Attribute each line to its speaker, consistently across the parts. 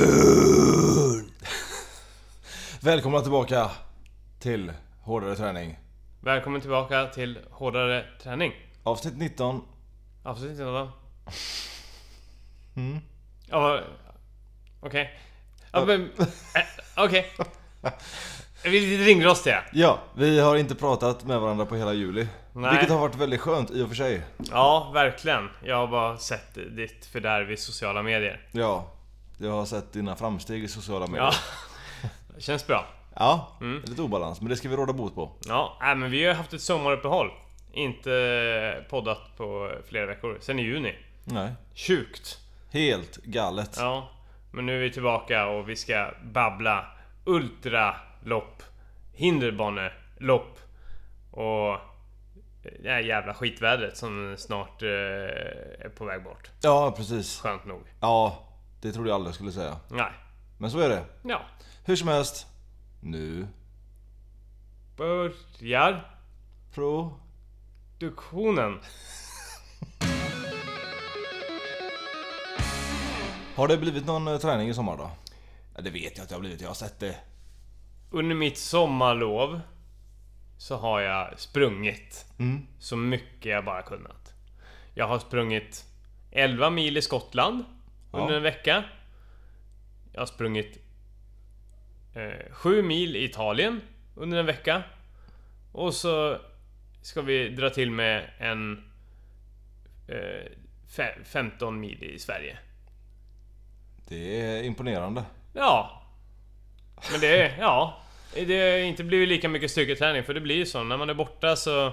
Speaker 1: Äntligen! Välkomna tillbaka till Hårdare Träning.
Speaker 2: Välkommen tillbaka till Hårdare Träning.
Speaker 1: Avsnitt 19.
Speaker 2: Avsnitt 19. Ja, vad- okej. Ja, men... eh, Okej. Vi ringde oss det.
Speaker 1: Ja, vi har inte pratat med varandra på hela juli.
Speaker 2: Nej.
Speaker 1: Vilket har varit väldigt skönt i och för sig.
Speaker 2: Ja, verkligen. Jag har bara sett ditt fördärv i sociala medier.
Speaker 1: Ja, jag har sett dina framsteg i sociala medier.
Speaker 2: Ja. Mm. Det känns bra.
Speaker 1: Ja, lite obalans, men det ska vi råda bot på.
Speaker 2: Ja, nej, men vi har ju haft ett sommaruppehåll. Inte poddat på flera veckor. Sen i juni.
Speaker 1: Nej.
Speaker 2: Sjukt.
Speaker 1: Helt galet.
Speaker 2: Ja, men nu är vi tillbaka och vi ska babbla ultralopp, hinderbanelopp och det här jävla skitvädret som snart eh, är på väg bort.
Speaker 1: Ja, precis.
Speaker 2: Skönt nog.
Speaker 1: Ja, det trodde jag aldrig jag skulle säga.
Speaker 2: Nej,
Speaker 1: Men så är det.
Speaker 2: ja.
Speaker 1: Hur som helst. Nu.
Speaker 2: Börjar
Speaker 1: Pro.
Speaker 2: duktionen.
Speaker 1: Har det blivit någon eh, träning i sommar då? Ja, det vet jag att det har blivit, jag har sett det.
Speaker 2: Under mitt sommarlov så har jag sprungit
Speaker 1: Mm.
Speaker 2: så mycket jag bara kunnat. Jag har sprungit 11 mil i Skottland under
Speaker 1: Ja.
Speaker 2: en vecka. Jag har sprungit eh, 7 mil i Italien under en vecka. Och så ska vi dra till med en eh, fe- 15 mil i Sverige.
Speaker 1: Det är imponerande.
Speaker 2: Ja. Men det, ja. Det har inte blivit lika mycket styrketräning för det blir ju så. När man är borta så...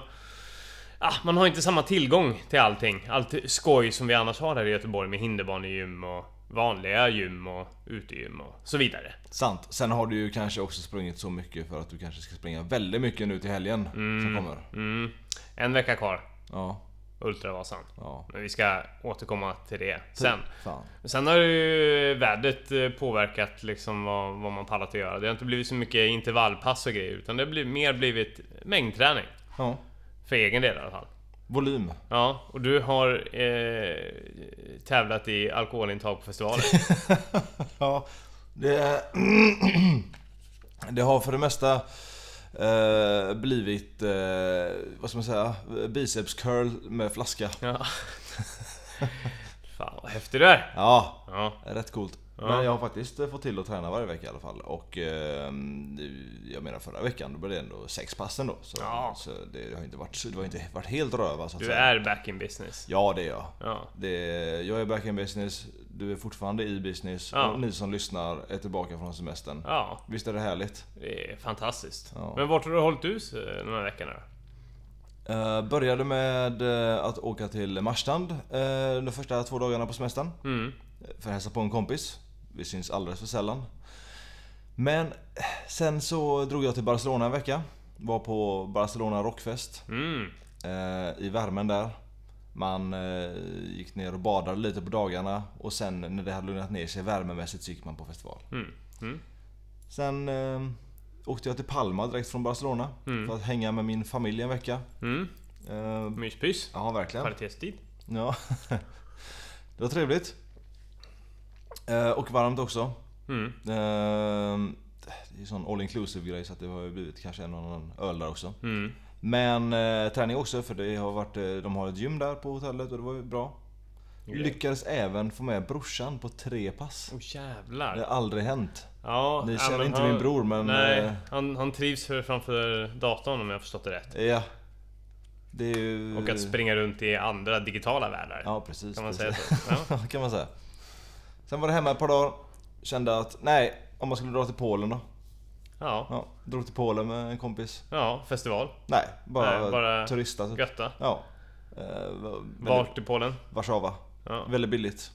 Speaker 2: Ah, man har inte samma tillgång till allting. Allt skoj som vi annars har här i Göteborg med hinderbanegym och vanliga gym och utegym och så vidare.
Speaker 1: Sant. Sen har du ju kanske också sprungit så mycket för att du kanske ska springa väldigt mycket nu till helgen som kommer.
Speaker 2: Mm. En vecka kvar,
Speaker 1: Ja,
Speaker 2: Ultravasan.
Speaker 1: ja.
Speaker 2: Men vi ska återkomma till det sen.
Speaker 1: Fan.
Speaker 2: Sen har ju vädret eh, påverkat liksom vad, vad man pallat att göra. Det har inte blivit så mycket intervallpass och grejer utan det har blivit, mer blivit mängdträning.
Speaker 1: Ja.
Speaker 2: För egen del i alla fall.
Speaker 1: Volym.
Speaker 2: Ja, och du har eh, tävlat i alkoholintag på festivaler.
Speaker 1: Ja, det... det har för det mesta eh, blivit, eh, vad ska man säga, biceps curl med flaska.
Speaker 2: ja. Fan vad häftig du är!
Speaker 1: Ja,
Speaker 2: Ja.
Speaker 1: Eh, Rätt coolt.
Speaker 2: Ja.
Speaker 1: Men jag har faktiskt eh, fått till att träna varje vecka i alla fall. Och eh, jag menar förra veckan då blev det ändå sex pass ändå. Så,
Speaker 2: Ja.
Speaker 1: så det har inte varit, det har inte varit helt röva så att
Speaker 2: Du
Speaker 1: säga.
Speaker 2: är back in business.
Speaker 1: Ja det är jag.
Speaker 2: Ja.
Speaker 1: Det är, jag är back in business, du är fortfarande i business
Speaker 2: Ja.
Speaker 1: och ni som lyssnar är tillbaka från semestern.
Speaker 2: Ja,
Speaker 1: Visst är det härligt?
Speaker 2: det är fantastiskt.
Speaker 1: Ja.
Speaker 2: Men vart har du hållit hus eh, de här veckorna då?
Speaker 1: Eh, började med eh, att åka till Marstrand eh, de första två dagarna på semestern.
Speaker 2: Mm.
Speaker 1: för att hälsa på en kompis. Vi syns alldeles för sällan. Men eh, sen så drog jag till Barcelona en vecka. Var på Barcelona Rockfest
Speaker 2: Mm.
Speaker 1: eh, i värmen där. Man eh, gick ner och badade lite på dagarna och sen när det hade lugnat ner sig värmemässigt så gick man på festival.
Speaker 2: Mm. Mm.
Speaker 1: Sen eh, åkte jag till Palma direkt från Barcelona för att hänga med min familj en vecka.
Speaker 2: Mm.
Speaker 1: Eh,
Speaker 2: Myspys.
Speaker 1: ja, verkligen.
Speaker 2: Kvalitetstid.
Speaker 1: Ja. Det var trevligt. Eh, Och varmt också.
Speaker 2: Mm.
Speaker 1: Ehm, Det är ju sån all inclusive grej så att det har ju blivit kanske en och annan öl där också.
Speaker 2: Mm.
Speaker 1: Men eh, träning också för det har varit, eh, de har ett gym där på hotellet och det var ju bra. Lyckades även få med brorsan på tre pass.
Speaker 2: Åh
Speaker 1: Det har
Speaker 2: jävlar.
Speaker 1: aldrig hänt.
Speaker 2: Ja,
Speaker 1: Ni
Speaker 2: ja,
Speaker 1: känner
Speaker 2: men
Speaker 1: inte
Speaker 2: han-
Speaker 1: min bror men...
Speaker 2: Nej,
Speaker 1: eh,
Speaker 2: han, han trivs för- framför datorn om jag har förstått det rätt.
Speaker 1: Ja. Det är ju...
Speaker 2: Och att springa runt i andra digitala världar.
Speaker 1: Mm. Ja precis.
Speaker 2: Kan man
Speaker 1: precis.
Speaker 2: säga så? Ja.
Speaker 1: Ja, kan man säga. Sen var det hemma ett par dagar. Kände att, nej, om man skulle dra till Polen då.
Speaker 2: Ja.
Speaker 1: Ja, drog till Polen med en kompis.
Speaker 2: ja, festival.
Speaker 1: Nej, bara,
Speaker 2: Nej, bara-
Speaker 1: turista typ.
Speaker 2: Götta.
Speaker 1: Ja. Eh, va- väldigt-
Speaker 2: Vart i Polen?
Speaker 1: Warszawa.
Speaker 2: Ja.
Speaker 1: Väldigt billigt.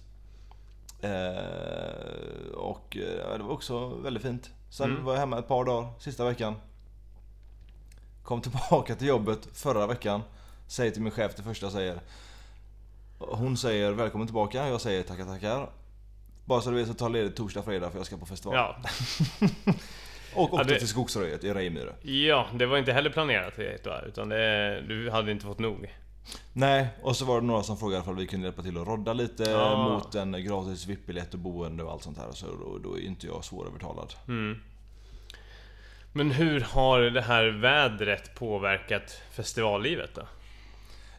Speaker 1: Eh, och eh, det var också väldigt fint. Sen
Speaker 2: Mm.
Speaker 1: var jag hemma ett par dagar, sista veckan. Kom tillbaka till jobbet förra veckan. Säger till min chef det första jag säger. Hon säger välkommen tillbaka, jag säger tackar tackar. Bara så du vet så tar jag ledigt torsdag, fredag för jag ska på festival.
Speaker 2: Ja.
Speaker 1: Och åkte
Speaker 2: Ja, det-
Speaker 1: till Skogsröjet i Rejmyre.
Speaker 2: ja, det var inte heller planerat riktigt va? Utan det, du hade inte fått nog.
Speaker 1: Nej, och så var det några som frågade om vi kunde hjälpa till att rodda lite
Speaker 2: Ja.
Speaker 1: mot en gratis VIP-biljett och boende och allt sånt här. Så då, då är inte jag svårövertalad.
Speaker 2: Mm. Men hur har det här vädret påverkat festivallivet då?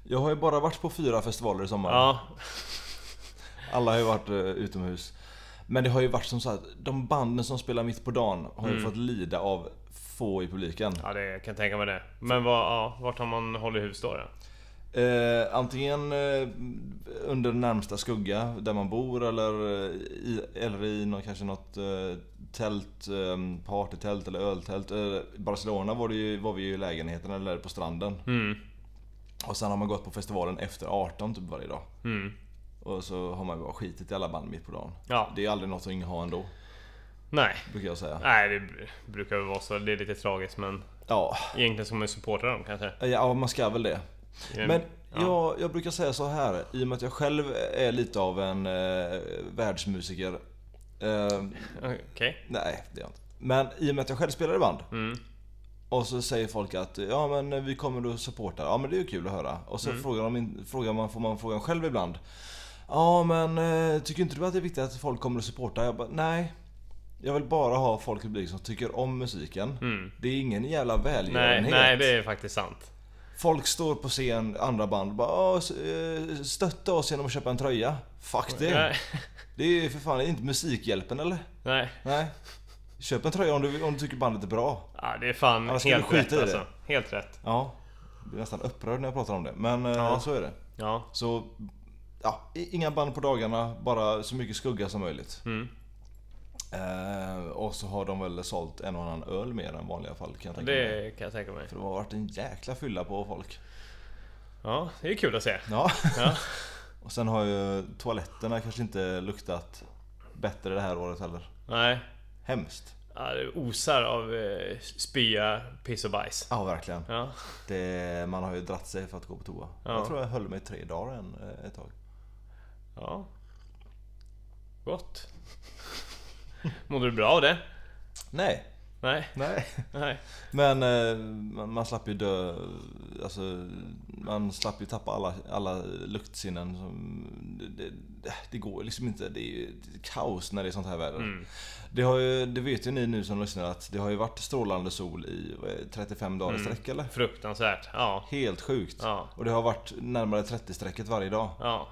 Speaker 1: Jag har ju bara varit på fyra festivaler i sommar.
Speaker 2: Ja,
Speaker 1: Alla har ju varit eh, utomhus. Men det har ju varit som så här, de banden som spelar mitt på dagen har ju fått lida av få i publiken.
Speaker 2: Mm. ja det jag kan tänka mig det. Men vad, ja, vart har man hållit hus då? då?
Speaker 1: Eh, antingen eh, under närmsta skugga där man bor eller eh, i, eller i någon, kanske något eh, tält, eh, partytält eller öltält. Eh, I Barcelona var, det ju, var vi ju i lägenheten eller på stranden.
Speaker 2: Mm,
Speaker 1: Och sen har man gått på festivalen efter 18 typ varje dag.
Speaker 2: mm.
Speaker 1: Och så har man ju bara skitit i alla band mitt på dagen.
Speaker 2: Ja,
Speaker 1: Det är ju aldrig något att ha ändå,
Speaker 2: nej.
Speaker 1: brukar jag säga.
Speaker 2: Nej, det br- brukar väl vara så. Det är lite tragiskt men
Speaker 1: Ja,
Speaker 2: egentligen ska man ju supporta dem kanske.
Speaker 1: ja man ska väl det.
Speaker 2: I-
Speaker 1: Men
Speaker 2: Mm. ja.
Speaker 1: jag, jag brukar säga så här, i och med att jag själv är lite av en eh, världsmusiker. Eh,
Speaker 2: Okej.
Speaker 1: nej, det är jag inte. Men i och med att jag själv spelar i band.
Speaker 2: Mm.
Speaker 1: Och så säger folk att ja men vi kommer att supporta. Ja men det är ju kul att höra. Och
Speaker 2: Mm.
Speaker 1: så frågar, de, in- frågar man, får man frågan själv ibland. Ja men eh, tycker inte du att det är viktigt att folk kommer att supporta? Jag bara, nej. Jag vill bara ha folk i publiken som tycker om musiken.
Speaker 2: Mm.
Speaker 1: Det är ingen jävla
Speaker 2: Nej,
Speaker 1: välgörenhet.
Speaker 2: nej, det är faktiskt sant.
Speaker 1: Folk står på scen, andra band bara "Åh, s- eh, stötta oss genom att köpa en tröja. Fuck det.
Speaker 2: Nej,
Speaker 1: Det är ju för fan inte Musikhjälpen eller?
Speaker 2: nej.
Speaker 1: Nej. Köp en tröja om du, om du tycker bandet är bra.
Speaker 2: Ja, det är fan
Speaker 1: Annars ska
Speaker 2: helt
Speaker 1: vi skita
Speaker 2: rätt
Speaker 1: i det.
Speaker 2: alltså. Helt rätt.
Speaker 1: Ja. Jag blir nästan upprörd när jag pratar om det. Men eh,
Speaker 2: Ja.
Speaker 1: så är det.
Speaker 2: Ja.
Speaker 1: Så ja, i- inga band på dagarna, bara så mycket skugga som möjligt.
Speaker 2: Mm.
Speaker 1: Eh, och så har de väl sålt en och annan öl mer än vanliga fall kan jag tänka mig.
Speaker 2: Det kan jag tänka mig.
Speaker 1: För det har varit en jäkla fylla på folk.
Speaker 2: Ja, det är kul att se.
Speaker 1: Ja.
Speaker 2: Ja.
Speaker 1: och sen har ju toaletterna kanske inte luktat bättre det här året heller.
Speaker 2: Nej.
Speaker 1: Hemskt.
Speaker 2: Ja, det osar av eh, spya, piss och bajs.
Speaker 1: Ja, verkligen.
Speaker 2: Ja.
Speaker 1: Det, man har ju dratt sig för att gå på toa.
Speaker 2: Ja.
Speaker 1: Jag tror jag höll mig tre dagar en, eh, ett tag.
Speaker 2: Ja. Gott. Mådde du bra av det?
Speaker 1: Nej.
Speaker 2: Nej.
Speaker 1: Nej.
Speaker 2: Nej.
Speaker 1: Men eh, man, man slapp ju dö, alltså man slapp ju tappa alla, alla luktsinnen. Som, det, det, det går liksom inte, det är ju kaos när det är sånt här väder.
Speaker 2: Mm.
Speaker 1: Det, har ju, det vet ju ni nu som lyssnar att det har ju varit strålande sol i vad är det, 35 dagar i
Speaker 2: Mm.
Speaker 1: sträck eller?
Speaker 2: Fruktansvärt. Ja.
Speaker 1: Helt sjukt.
Speaker 2: Ja.
Speaker 1: Och det har varit närmare 30-strecket varje dag.
Speaker 2: Ja.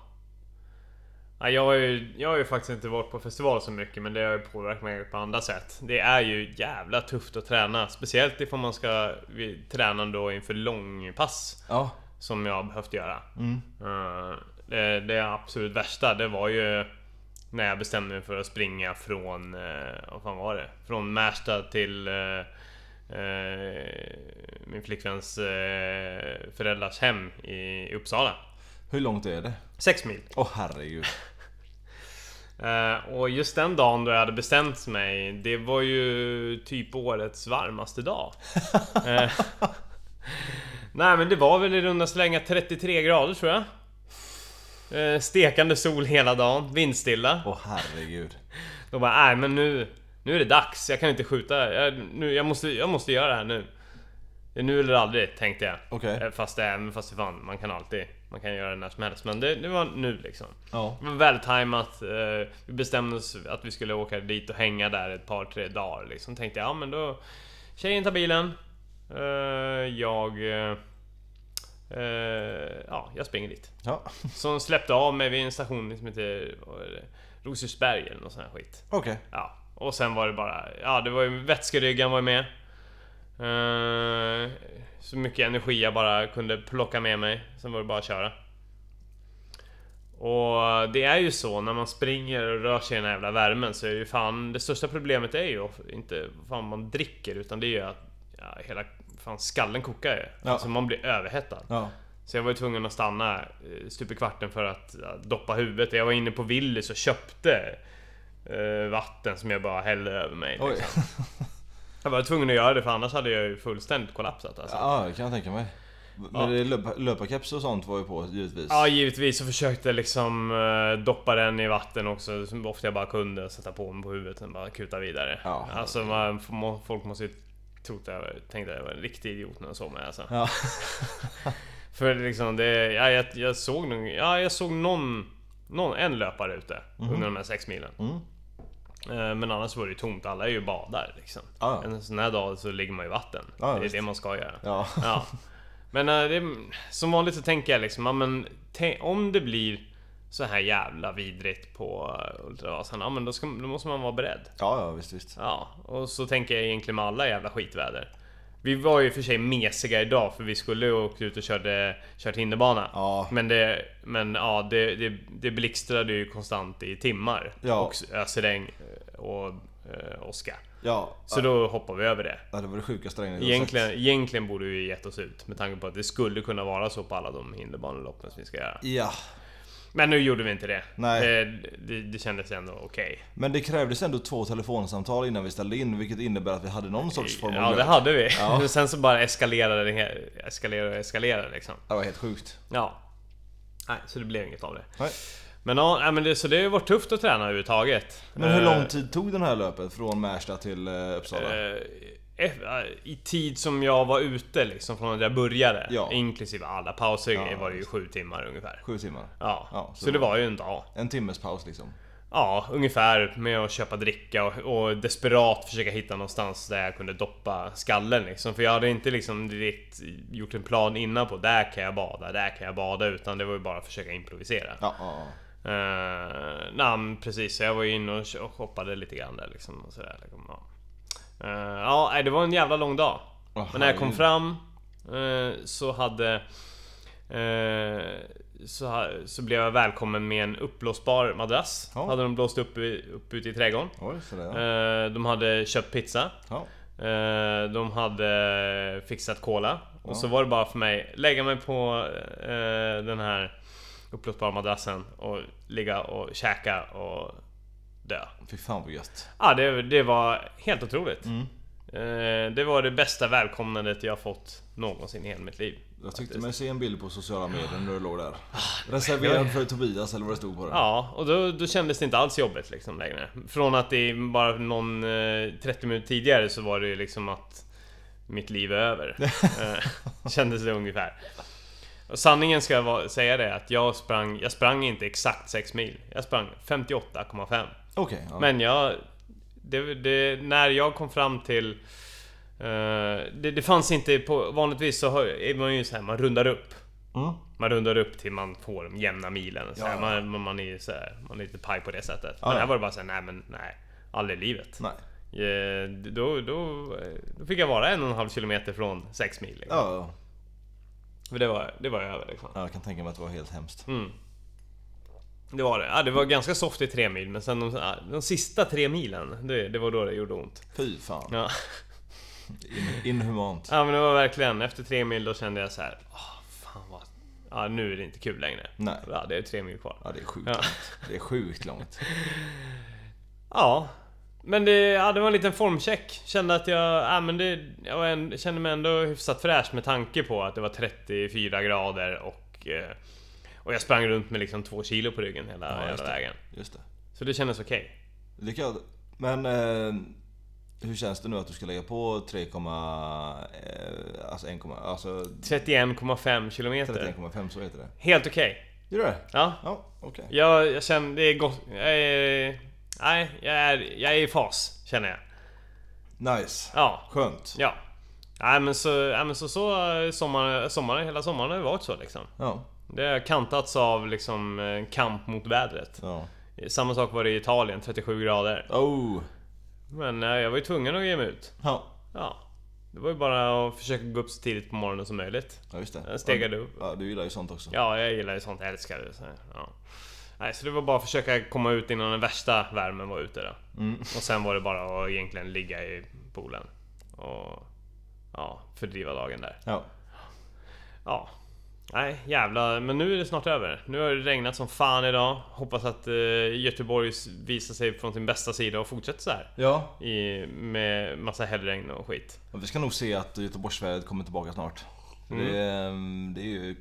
Speaker 2: ja jag, har ju, jag har ju faktiskt inte varit på festival så mycket men det har ju påverkat mig på andra sätt. Det är ju jävla tufft att träna. Speciellt ifall man ska vi- träna då inför långpass.
Speaker 1: Ja.
Speaker 2: Som jag har behövt göra.
Speaker 1: Mm.
Speaker 2: Eh, Det, det absolut värsta det var ju när jag bestämde mig för att springa från... eh, Vad fan var det? Från Märsta till eh, eh, min flickväns eh, föräldrars hem i Uppsala.
Speaker 1: Hur långt är det?
Speaker 2: Sex mil.
Speaker 1: Åh herregud.
Speaker 2: Eh, och just den dagen då jag hade bestämt mig, det var ju typ årets varmaste dag. Eh, nej men det var väl i runda slänga 33 grader tror jag. Eh, stekande sol hela dagen, vindstilla.
Speaker 1: Åh herregud.
Speaker 2: Då bara, nej men nu, nu är det dags, jag kan inte skjuta, jag, nu, jag, måste, jag måste göra det här nu. Det är nu eller aldrig, tänkte jag.
Speaker 1: Okej.
Speaker 2: Eh, Fast det är, men fast fan, man kan alltid, man kan göra det när som helst. Men det, det var nu liksom.
Speaker 1: Ja.
Speaker 2: Det var vältajmat. eh, Vi bestämde oss att vi skulle åka dit och hänga där ett par, tre dagar. Liksom. Tänkte jag, ja men då... Tjejen tar bilen. Eh, Jag... eh, eh, Ja, jag springer dit.
Speaker 1: Ja.
Speaker 2: Så hon släppte av mig vid en station som heter vad är det? Rosersberg eller någon sån här skit.
Speaker 1: Okej.
Speaker 2: Ja, och sen var det bara... Ja, det var ju vätskeryggan var ju med. Eh, Så mycket energi jag bara kunde plocka med mig. Sen var det bara att köra. Och det är ju så när man springer och rör sig i den här jävla värmen så är det ju fan... Det största problemet är ju inte vad fan man dricker utan det är ju att ja, hela fan, skallen kokar ju.
Speaker 1: Ja.
Speaker 2: Alltså man blir överhettad.
Speaker 1: Ja.
Speaker 2: Så jag var ju tvungen att stanna eh, stup i kvarten för att ja, doppa huvudet. Jag var inne på Willys och köpte eh, vatten som jag bara hällde över mig.
Speaker 1: Oj.
Speaker 2: Liksom. Jag var tvungen att göra det för annars hade jag ju fullständigt kollapsat alltså. ja.
Speaker 1: Ja, det kan jag tänka mig. Men det löp, löparkeps och sånt var ju på givetvis.
Speaker 2: givetvis så försökte jag liksom eh, doppa den i vatten också så ofta jag bara kunde. Sätta på mig på huvudet och bara kuta vidare.
Speaker 1: Ja.
Speaker 2: Alltså man, f- må- folk måste ju tro att jag tänkte att jag var en riktig idiot när de såg mig alltså.
Speaker 1: Ja.
Speaker 2: För liksom det... Ja, jag, jag såg nog... Ja, jag såg någon... någon en löpare ute under de här sex milen.
Speaker 1: Mhm. Mm.
Speaker 2: Eh, Men annars var det ju tomt. Alla är ju badar liksom.
Speaker 1: Ja, ja.
Speaker 2: En sån här dag så ligger man i vatten.
Speaker 1: Ja,
Speaker 2: det är
Speaker 1: Ah. visst.
Speaker 2: det man ska göra.
Speaker 1: Ja.
Speaker 2: Ja. Men eh, det, som vanligt så tänker jag liksom, ja, men, tä- om det blir så här jävla vidrigt på eh, Ultravasan, ja men då, ska, då måste man vara beredd.
Speaker 1: ja, ja visst visst.
Speaker 2: Ja, och så tänker jag egentligen med alla jävla skitväder. Vi var ju i och för sig mesiga idag för vi skulle ju åkt ut och körde, kört hinderbana.
Speaker 1: Ja.
Speaker 2: Men, det, men ja, det, det, det blixtrade ju konstant i timmar.
Speaker 1: Ja.
Speaker 2: Och s- ösregn eh, och eh, åska.
Speaker 1: Ja,
Speaker 2: Så då hoppar vi över det.
Speaker 1: ja, det var det sjukaste regnet jag har
Speaker 2: Egentligen,
Speaker 1: sett.
Speaker 2: egentligen borde vi gett oss ut med tanke på att det skulle kunna vara så på alla de hinderbaneloppen som vi ska göra.
Speaker 1: Ja,
Speaker 2: Men nu gjorde vi inte det.
Speaker 1: Nej.
Speaker 2: Det, det, det kändes ändå okej.
Speaker 1: men det krävdes ändå två telefonsamtal innan vi ställde in vilket innebär att vi hade någon sorts form av
Speaker 2: Ja, det
Speaker 1: glöd.
Speaker 2: hade vi.
Speaker 1: Ja.
Speaker 2: Men Sen så bara eskalerade det, he- eskalerade och eskalerade liksom.
Speaker 1: Det var helt sjukt.
Speaker 2: Ja. Nej, så det blev inget av det.
Speaker 1: Nej.
Speaker 2: Men ja, nej, men det, så det har ju varit tufft att träna överhuvudtaget.
Speaker 1: Men hur
Speaker 2: Eh,
Speaker 1: lång tid tog den här löpet från Märsta till eh, Uppsala?
Speaker 2: eh, eff- eh, I tid som jag var ute liksom från när jag började.
Speaker 1: Ja.
Speaker 2: Inklusive alla pauser
Speaker 1: Ja,
Speaker 2: var det ju sju timmar ungefär.
Speaker 1: Sju timmar?
Speaker 2: Ja,
Speaker 1: Ja,
Speaker 2: så,
Speaker 1: så
Speaker 2: det var ju en dag.
Speaker 1: En timmes paus liksom?
Speaker 2: Ja, ungefär med att köpa dricka och, och desperat försöka hitta någonstans där jag kunde doppa skallen liksom. För jag hade inte liksom direkt gjort en plan innan på där kan jag bada, där kan jag bada. Utan det var ju bara att försöka improvisera.
Speaker 1: Ja, ja, ja.
Speaker 2: Uh, nej, men precis. Så jag var ju inne och och shoppade lite grann där liksom. Och sådär, liksom ja. Eh, ja, nej, det var en jävla lång dag.
Speaker 1: Åh,
Speaker 2: men när jag kom
Speaker 1: herregud.
Speaker 2: fram eh, så hade... eh, så, ha- så blev jag välkommen med en uppblåsbar madrass.
Speaker 1: Ja.
Speaker 2: Hade de blåst upp, i, upp ute i trädgården.
Speaker 1: Oj, sådär ja.
Speaker 2: Eh, de hade köpt pizza.
Speaker 1: ja.
Speaker 2: Eh, De hade fixat cola.
Speaker 1: Ja.
Speaker 2: Och så var det bara för mig, lägga mig på eh, den här uppblåsbara madrassen och ligga och käka och dö.
Speaker 1: Fy fan vad gött.
Speaker 2: Ah, det, det var helt otroligt.
Speaker 1: Mm.
Speaker 2: Eh, Det var det bästa välkomnandet jag fått någonsin i hela mitt liv.
Speaker 1: Jag tyckte mig se en bild på sociala medier när du låg där. Reserverad för Tobias eller vad det stod på det.
Speaker 2: Ah, Ja, och då, då kändes det inte alls jobbigt liksom längre. Från att det bara någon eh, 30 minuter tidigare så var det ju liksom att mitt liv är över. Eh, kändes det ungefär. Och sanningen ska jag va- säga det att jag sprang, jag sprang inte exakt 6 mil. Jag sprang 58,5.
Speaker 1: Okej, ja.
Speaker 2: Men jag... Det, det, när jag kom fram till... eh, det, det fanns inte på... Vanligtvis så har, är man ju så här, man rundar upp.
Speaker 1: Mm.
Speaker 2: Man rundar upp till man får de jämna milen. Så här.
Speaker 1: Ja.
Speaker 2: Man, man, man är ju så här, man är lite paj på det sättet.
Speaker 1: Ja,
Speaker 2: men här
Speaker 1: ja.
Speaker 2: var det bara såhär, nej men nej. Aldrig i livet.
Speaker 1: Nej.
Speaker 2: Eh, Då, då, då fick jag vara en och en halv kilometer från sex mil. Liksom.
Speaker 1: Ja, ja.
Speaker 2: För det var, det var jag över liksom.
Speaker 1: ja, jag kan tänka mig att det var helt hemskt.
Speaker 2: Mm. Det var det. Ja, det var ganska soft i tre mil, men sen de, ja, de sista tre milen, det, det var då det gjorde ont.
Speaker 1: Fy fan.
Speaker 2: Ja.
Speaker 1: In- Inhumant.
Speaker 2: ja men det var verkligen, efter tre mil då kände jag så här, åh, fan vad... Ja, nu är det inte kul längre.
Speaker 1: Nej.
Speaker 2: Ja, det är tre mil kvar.
Speaker 1: Ja, det är sjukt
Speaker 2: Ja.
Speaker 1: långt. Det är sjukt långt.
Speaker 2: Ja. Men det, ja, det var en liten formcheck. Kände att jag, ja, men det, jag var en, kände mig ändå hyfsat fräsch med tanke på att det var 34 grader och, eh, och jag sprang runt med liksom två kilo på ryggen hela,
Speaker 1: Ja, just
Speaker 2: hela
Speaker 1: det.
Speaker 2: vägen.
Speaker 1: Just det.
Speaker 2: Så det kändes okej.
Speaker 1: Lyckat. Men eh, hur känns det nu att du ska lägga på 3, eh, alltså 1, alltså
Speaker 2: 31,5 kilometer.
Speaker 1: 31,5 så heter det.
Speaker 2: Helt okej.
Speaker 1: Gör det?
Speaker 2: Ja.
Speaker 1: Ja, okej.
Speaker 2: Jag, jag känner, det är gott. Jag är, nej, jag är, jag är i fas känner jag.
Speaker 1: Nice.
Speaker 2: Ja.
Speaker 1: Skönt.
Speaker 2: Ja. Nej men så, nej, men så, så eh, sommaren, sommaren, hela sommaren har ju varit så liksom.
Speaker 1: Ja.
Speaker 2: Det har kantats av liksom eh, kamp mot vädret.
Speaker 1: ja.
Speaker 2: Samma sak var det i Italien, 37 grader.
Speaker 1: Oh.
Speaker 2: Men eh, jag var ju tvungen att ge mig ut.
Speaker 1: Ja.
Speaker 2: Ja. Det var ju bara att försöka gå upp så tidigt på morgonen som möjligt.
Speaker 1: Ja, just det.
Speaker 2: Jag stegade upp.
Speaker 1: Ja, du gillar ju sånt också.
Speaker 2: Ja, jag gillar ju sånt, jag älskar det. Så, ja. Nej, så det var bara att försöka komma ut innan den värsta värmen var ute då. Och sen var det bara att egentligen ligga i poolen. Och ja, fördriva dagen där.
Speaker 1: Ja.
Speaker 2: Ja. Nej, jävla. Men nu är det snart över. Nu har det regnat som fan idag. Hoppas att eh, Göteborg s- visar sig från sin bästa sida och fortsätter så här.
Speaker 1: Ja.
Speaker 2: I, med massa hällregn och skit.
Speaker 1: Vi ska nog se att Göteborgsvädret kommer tillbaka snart. För Det,
Speaker 2: Mm.
Speaker 1: ehm, det är ju...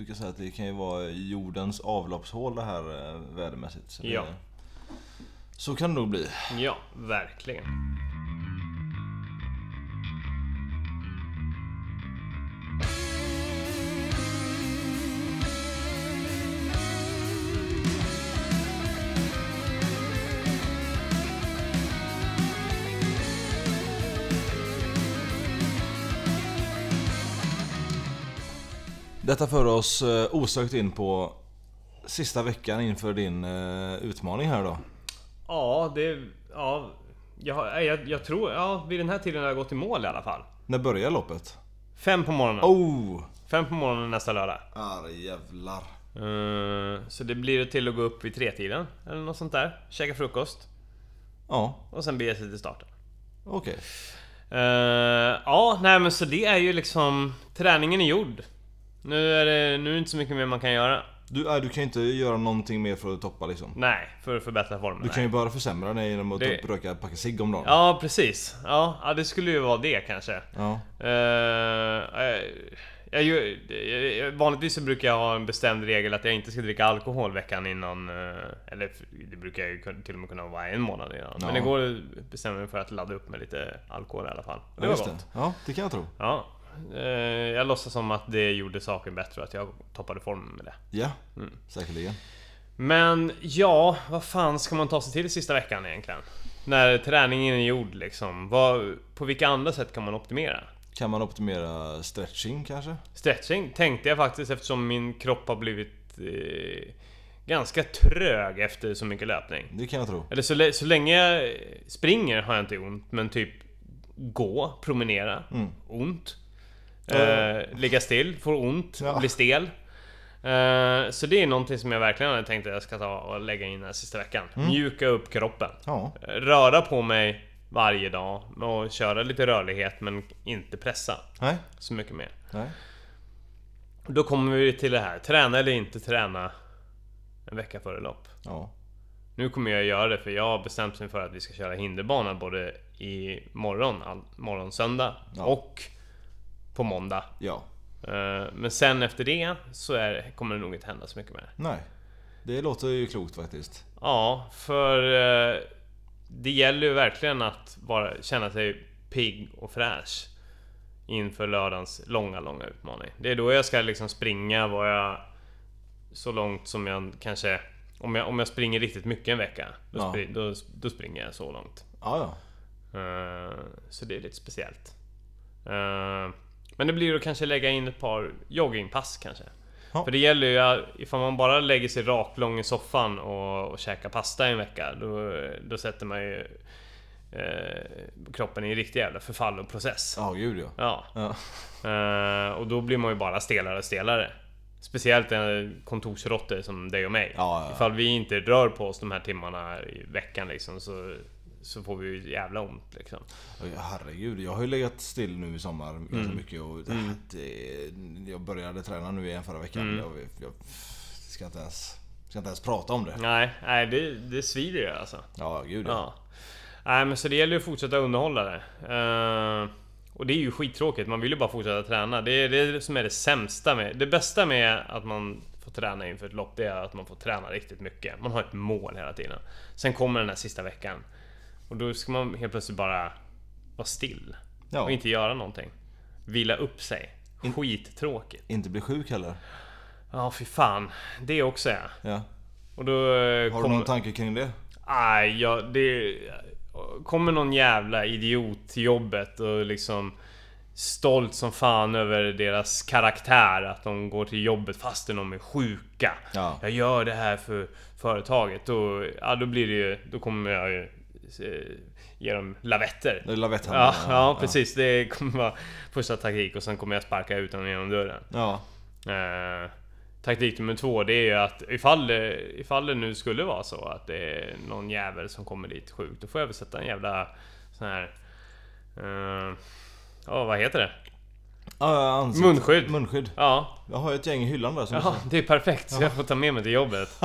Speaker 1: Jag brukar säga att det kan ju vara jordens avloppshål det här eh, vädermässigt. Så det,
Speaker 2: Ja.
Speaker 1: Så kan det nog bli.
Speaker 2: Ja, verkligen.
Speaker 1: Detta för oss eh, osökt in på sista veckan inför din eh, utmaning här då.
Speaker 2: Ja, det... Ja, jag, har- nej, jag, jag tror... Ja, vid den här tiden har jag gått i mål i alla fall.
Speaker 1: När börjar loppet?
Speaker 2: Fem på morgonen.
Speaker 1: Oh!
Speaker 2: Fem på morgonen nästa lördag.
Speaker 1: jävlar.
Speaker 2: Eh, så det blir till att gå upp vid tretiden, eller något sånt där. Käka frukost.
Speaker 1: Ja,
Speaker 2: Och sen bege sig till starten.
Speaker 1: okej.
Speaker 2: Eh, ja, nej men så det är ju liksom... Träningen är gjord. Nu är det, nu är det inte så mycket mer man kan göra.
Speaker 1: Du, äh, du kan ju inte göra någonting mer för att toppa liksom.
Speaker 2: Nej, för att förbättra formen.
Speaker 1: Du
Speaker 2: nej.
Speaker 1: kan ju bara försämra dig genom att
Speaker 2: Det-
Speaker 1: typ röka ett pack cigg om dagen.
Speaker 2: Ja, precis. Ja, ja, det skulle ju vara det kanske.
Speaker 1: Ja.
Speaker 2: Eh, eh, jag, gör- jag, jag, vanligtvis så brukar jag ha en bestämd regel att jag inte ska dricka alkohol veckan innan. eh, eller f- det brukar jag ju kun- till och med kunna vara en månad innan. Men
Speaker 1: Ja.
Speaker 2: igår bestämde jag mig för att ladda upp med lite alkohol i alla fall. Och
Speaker 1: Ja,
Speaker 2: Det var
Speaker 1: just
Speaker 2: gott.
Speaker 1: Ja, det kan jag tro.
Speaker 2: Ja. Eh, jag låtsas som att det gjorde saken bättre och att jag toppade formen med det.
Speaker 1: Ja,
Speaker 2: Mm.
Speaker 1: säkerligen.
Speaker 2: Men ja, vad fan ska man ta sig till sista veckan egentligen? När träningen är gjord liksom. Vad, på vilka andra sätt kan man optimera?
Speaker 1: Kan man optimera stretching kanske?
Speaker 2: Stretching tänkte jag faktiskt eftersom min kropp har blivit eh, ganska trög efter så mycket löpning.
Speaker 1: Det kan jag tro.
Speaker 2: Eller så, lä- så länge jag springer har jag inte ont, men typ gå, promenera, ont. Eh, ligga still, får ont,
Speaker 1: Ja.
Speaker 2: blir stel. Eh, så det är någonting som jag verkligen hade tänkt att jag ska ta och lägga in den här sista veckan. Mjuka upp kroppen.
Speaker 1: Ja,
Speaker 2: Eh, Röra på mig varje dag och köra lite rörlighet men inte pressa
Speaker 1: nej,
Speaker 2: så mycket mer.
Speaker 1: nej.
Speaker 2: Och Då kommer vi till det här, träna eller inte träna en vecka före lopp.
Speaker 1: Ja,
Speaker 2: Nu kommer jag göra det för jag har bestämt mig för att vi ska köra hinderbana både i morgon, all, morgon söndag
Speaker 1: Ja.
Speaker 2: och på måndag.
Speaker 1: ja,
Speaker 2: Eh, Men sen efter det så är, kommer det nog inte hända så mycket mer.
Speaker 1: nej. Det låter ju klokt faktiskt.
Speaker 2: Ja, för eh, det gäller ju verkligen att bara känna sig pigg och fräsch inför lördagens långa, långa utmaning. Det är då jag ska liksom springa vad jag... Så långt som jag kanske... Om jag, om jag springer riktigt mycket en vecka, då,
Speaker 1: Ja.
Speaker 2: spri, då, då springer jag så långt.
Speaker 1: Ja, ja.
Speaker 2: Eh, så det är lite speciellt. Eh, men det blir att kanske lägga in ett par joggingpass kanske.
Speaker 1: Ja.
Speaker 2: För det gäller ju att ifall man bara lägger sig raklång i soffan och, och käkar pasta i en vecka. Då, då sätter man ju eh, kroppen i en riktig jävla förfalloprocess.
Speaker 1: Ja, gud ja.
Speaker 2: Ja.
Speaker 1: Ja,
Speaker 2: Eh, och då blir man ju bara stelare och stelare. Speciellt en kontorsrotter som dig och mig.
Speaker 1: Ja, ja, ja.
Speaker 2: Ifall vi inte rör på oss de här timmarna i veckan liksom så, så får vi ju jävla ont liksom.
Speaker 1: Oj, Herregud, jag har ju legat still nu i sommar ganska
Speaker 2: Mm.
Speaker 1: mycket och det, det, jag började träna nu igen förra veckan.
Speaker 2: Mm.
Speaker 1: Jag, jag ska, inte ens, ska inte ens prata om det.
Speaker 2: Nej, nej det, det svider ju alltså.
Speaker 1: Ja, gud ja.
Speaker 2: Ja. Nej men så det gäller ju att fortsätta underhålla det. Eh, och det är ju skittråkigt, man vill ju bara fortsätta träna. Det är det som är det sämsta med... Det bästa med att man får träna inför ett lopp, det är att man får träna riktigt mycket. Man har ett mål hela tiden. Sen kommer den här sista veckan. Och då ska man helt plötsligt bara vara still.
Speaker 1: Ja.
Speaker 2: Och inte göra någonting. Vila upp sig. Skittråkigt.
Speaker 1: Inte bli sjuk heller.
Speaker 2: Ja, fy fan. Det också ja.
Speaker 1: Ja.
Speaker 2: Och då eh,
Speaker 1: Har du
Speaker 2: kommer-
Speaker 1: någon tanke kring det?
Speaker 2: Aj, ja, det... Kommer någon jävla idiot till jobbet och liksom stolt som fan över deras karaktär, att de går till jobbet fastän de är sjuka.
Speaker 1: Ja.
Speaker 2: Jag gör det här för företaget. Då, ja, då blir det ju... Då kommer jag ju eh, ge dem lavetter.
Speaker 1: Det är lavetthandeln.
Speaker 2: Ja, ja, precis. Det kommer vara första taktik och sen kommer jag sparka ut dem genom dörren.
Speaker 1: Ja.
Speaker 2: Eh, taktik nummer två, det är ju att ifall det, ifall det nu skulle vara så att det är någon jävel som kommer dit sjuk, då får jag väl sätta en jävla sån här... eh, Ja, vad heter det?
Speaker 1: Ja, ja, ansikt-
Speaker 2: Munskydd.
Speaker 1: Munskydd.
Speaker 2: Ja,
Speaker 1: Jag har ju ett gäng i hyllan där som
Speaker 2: ja det är perfekt. Så jag får ta med mig till jobbet.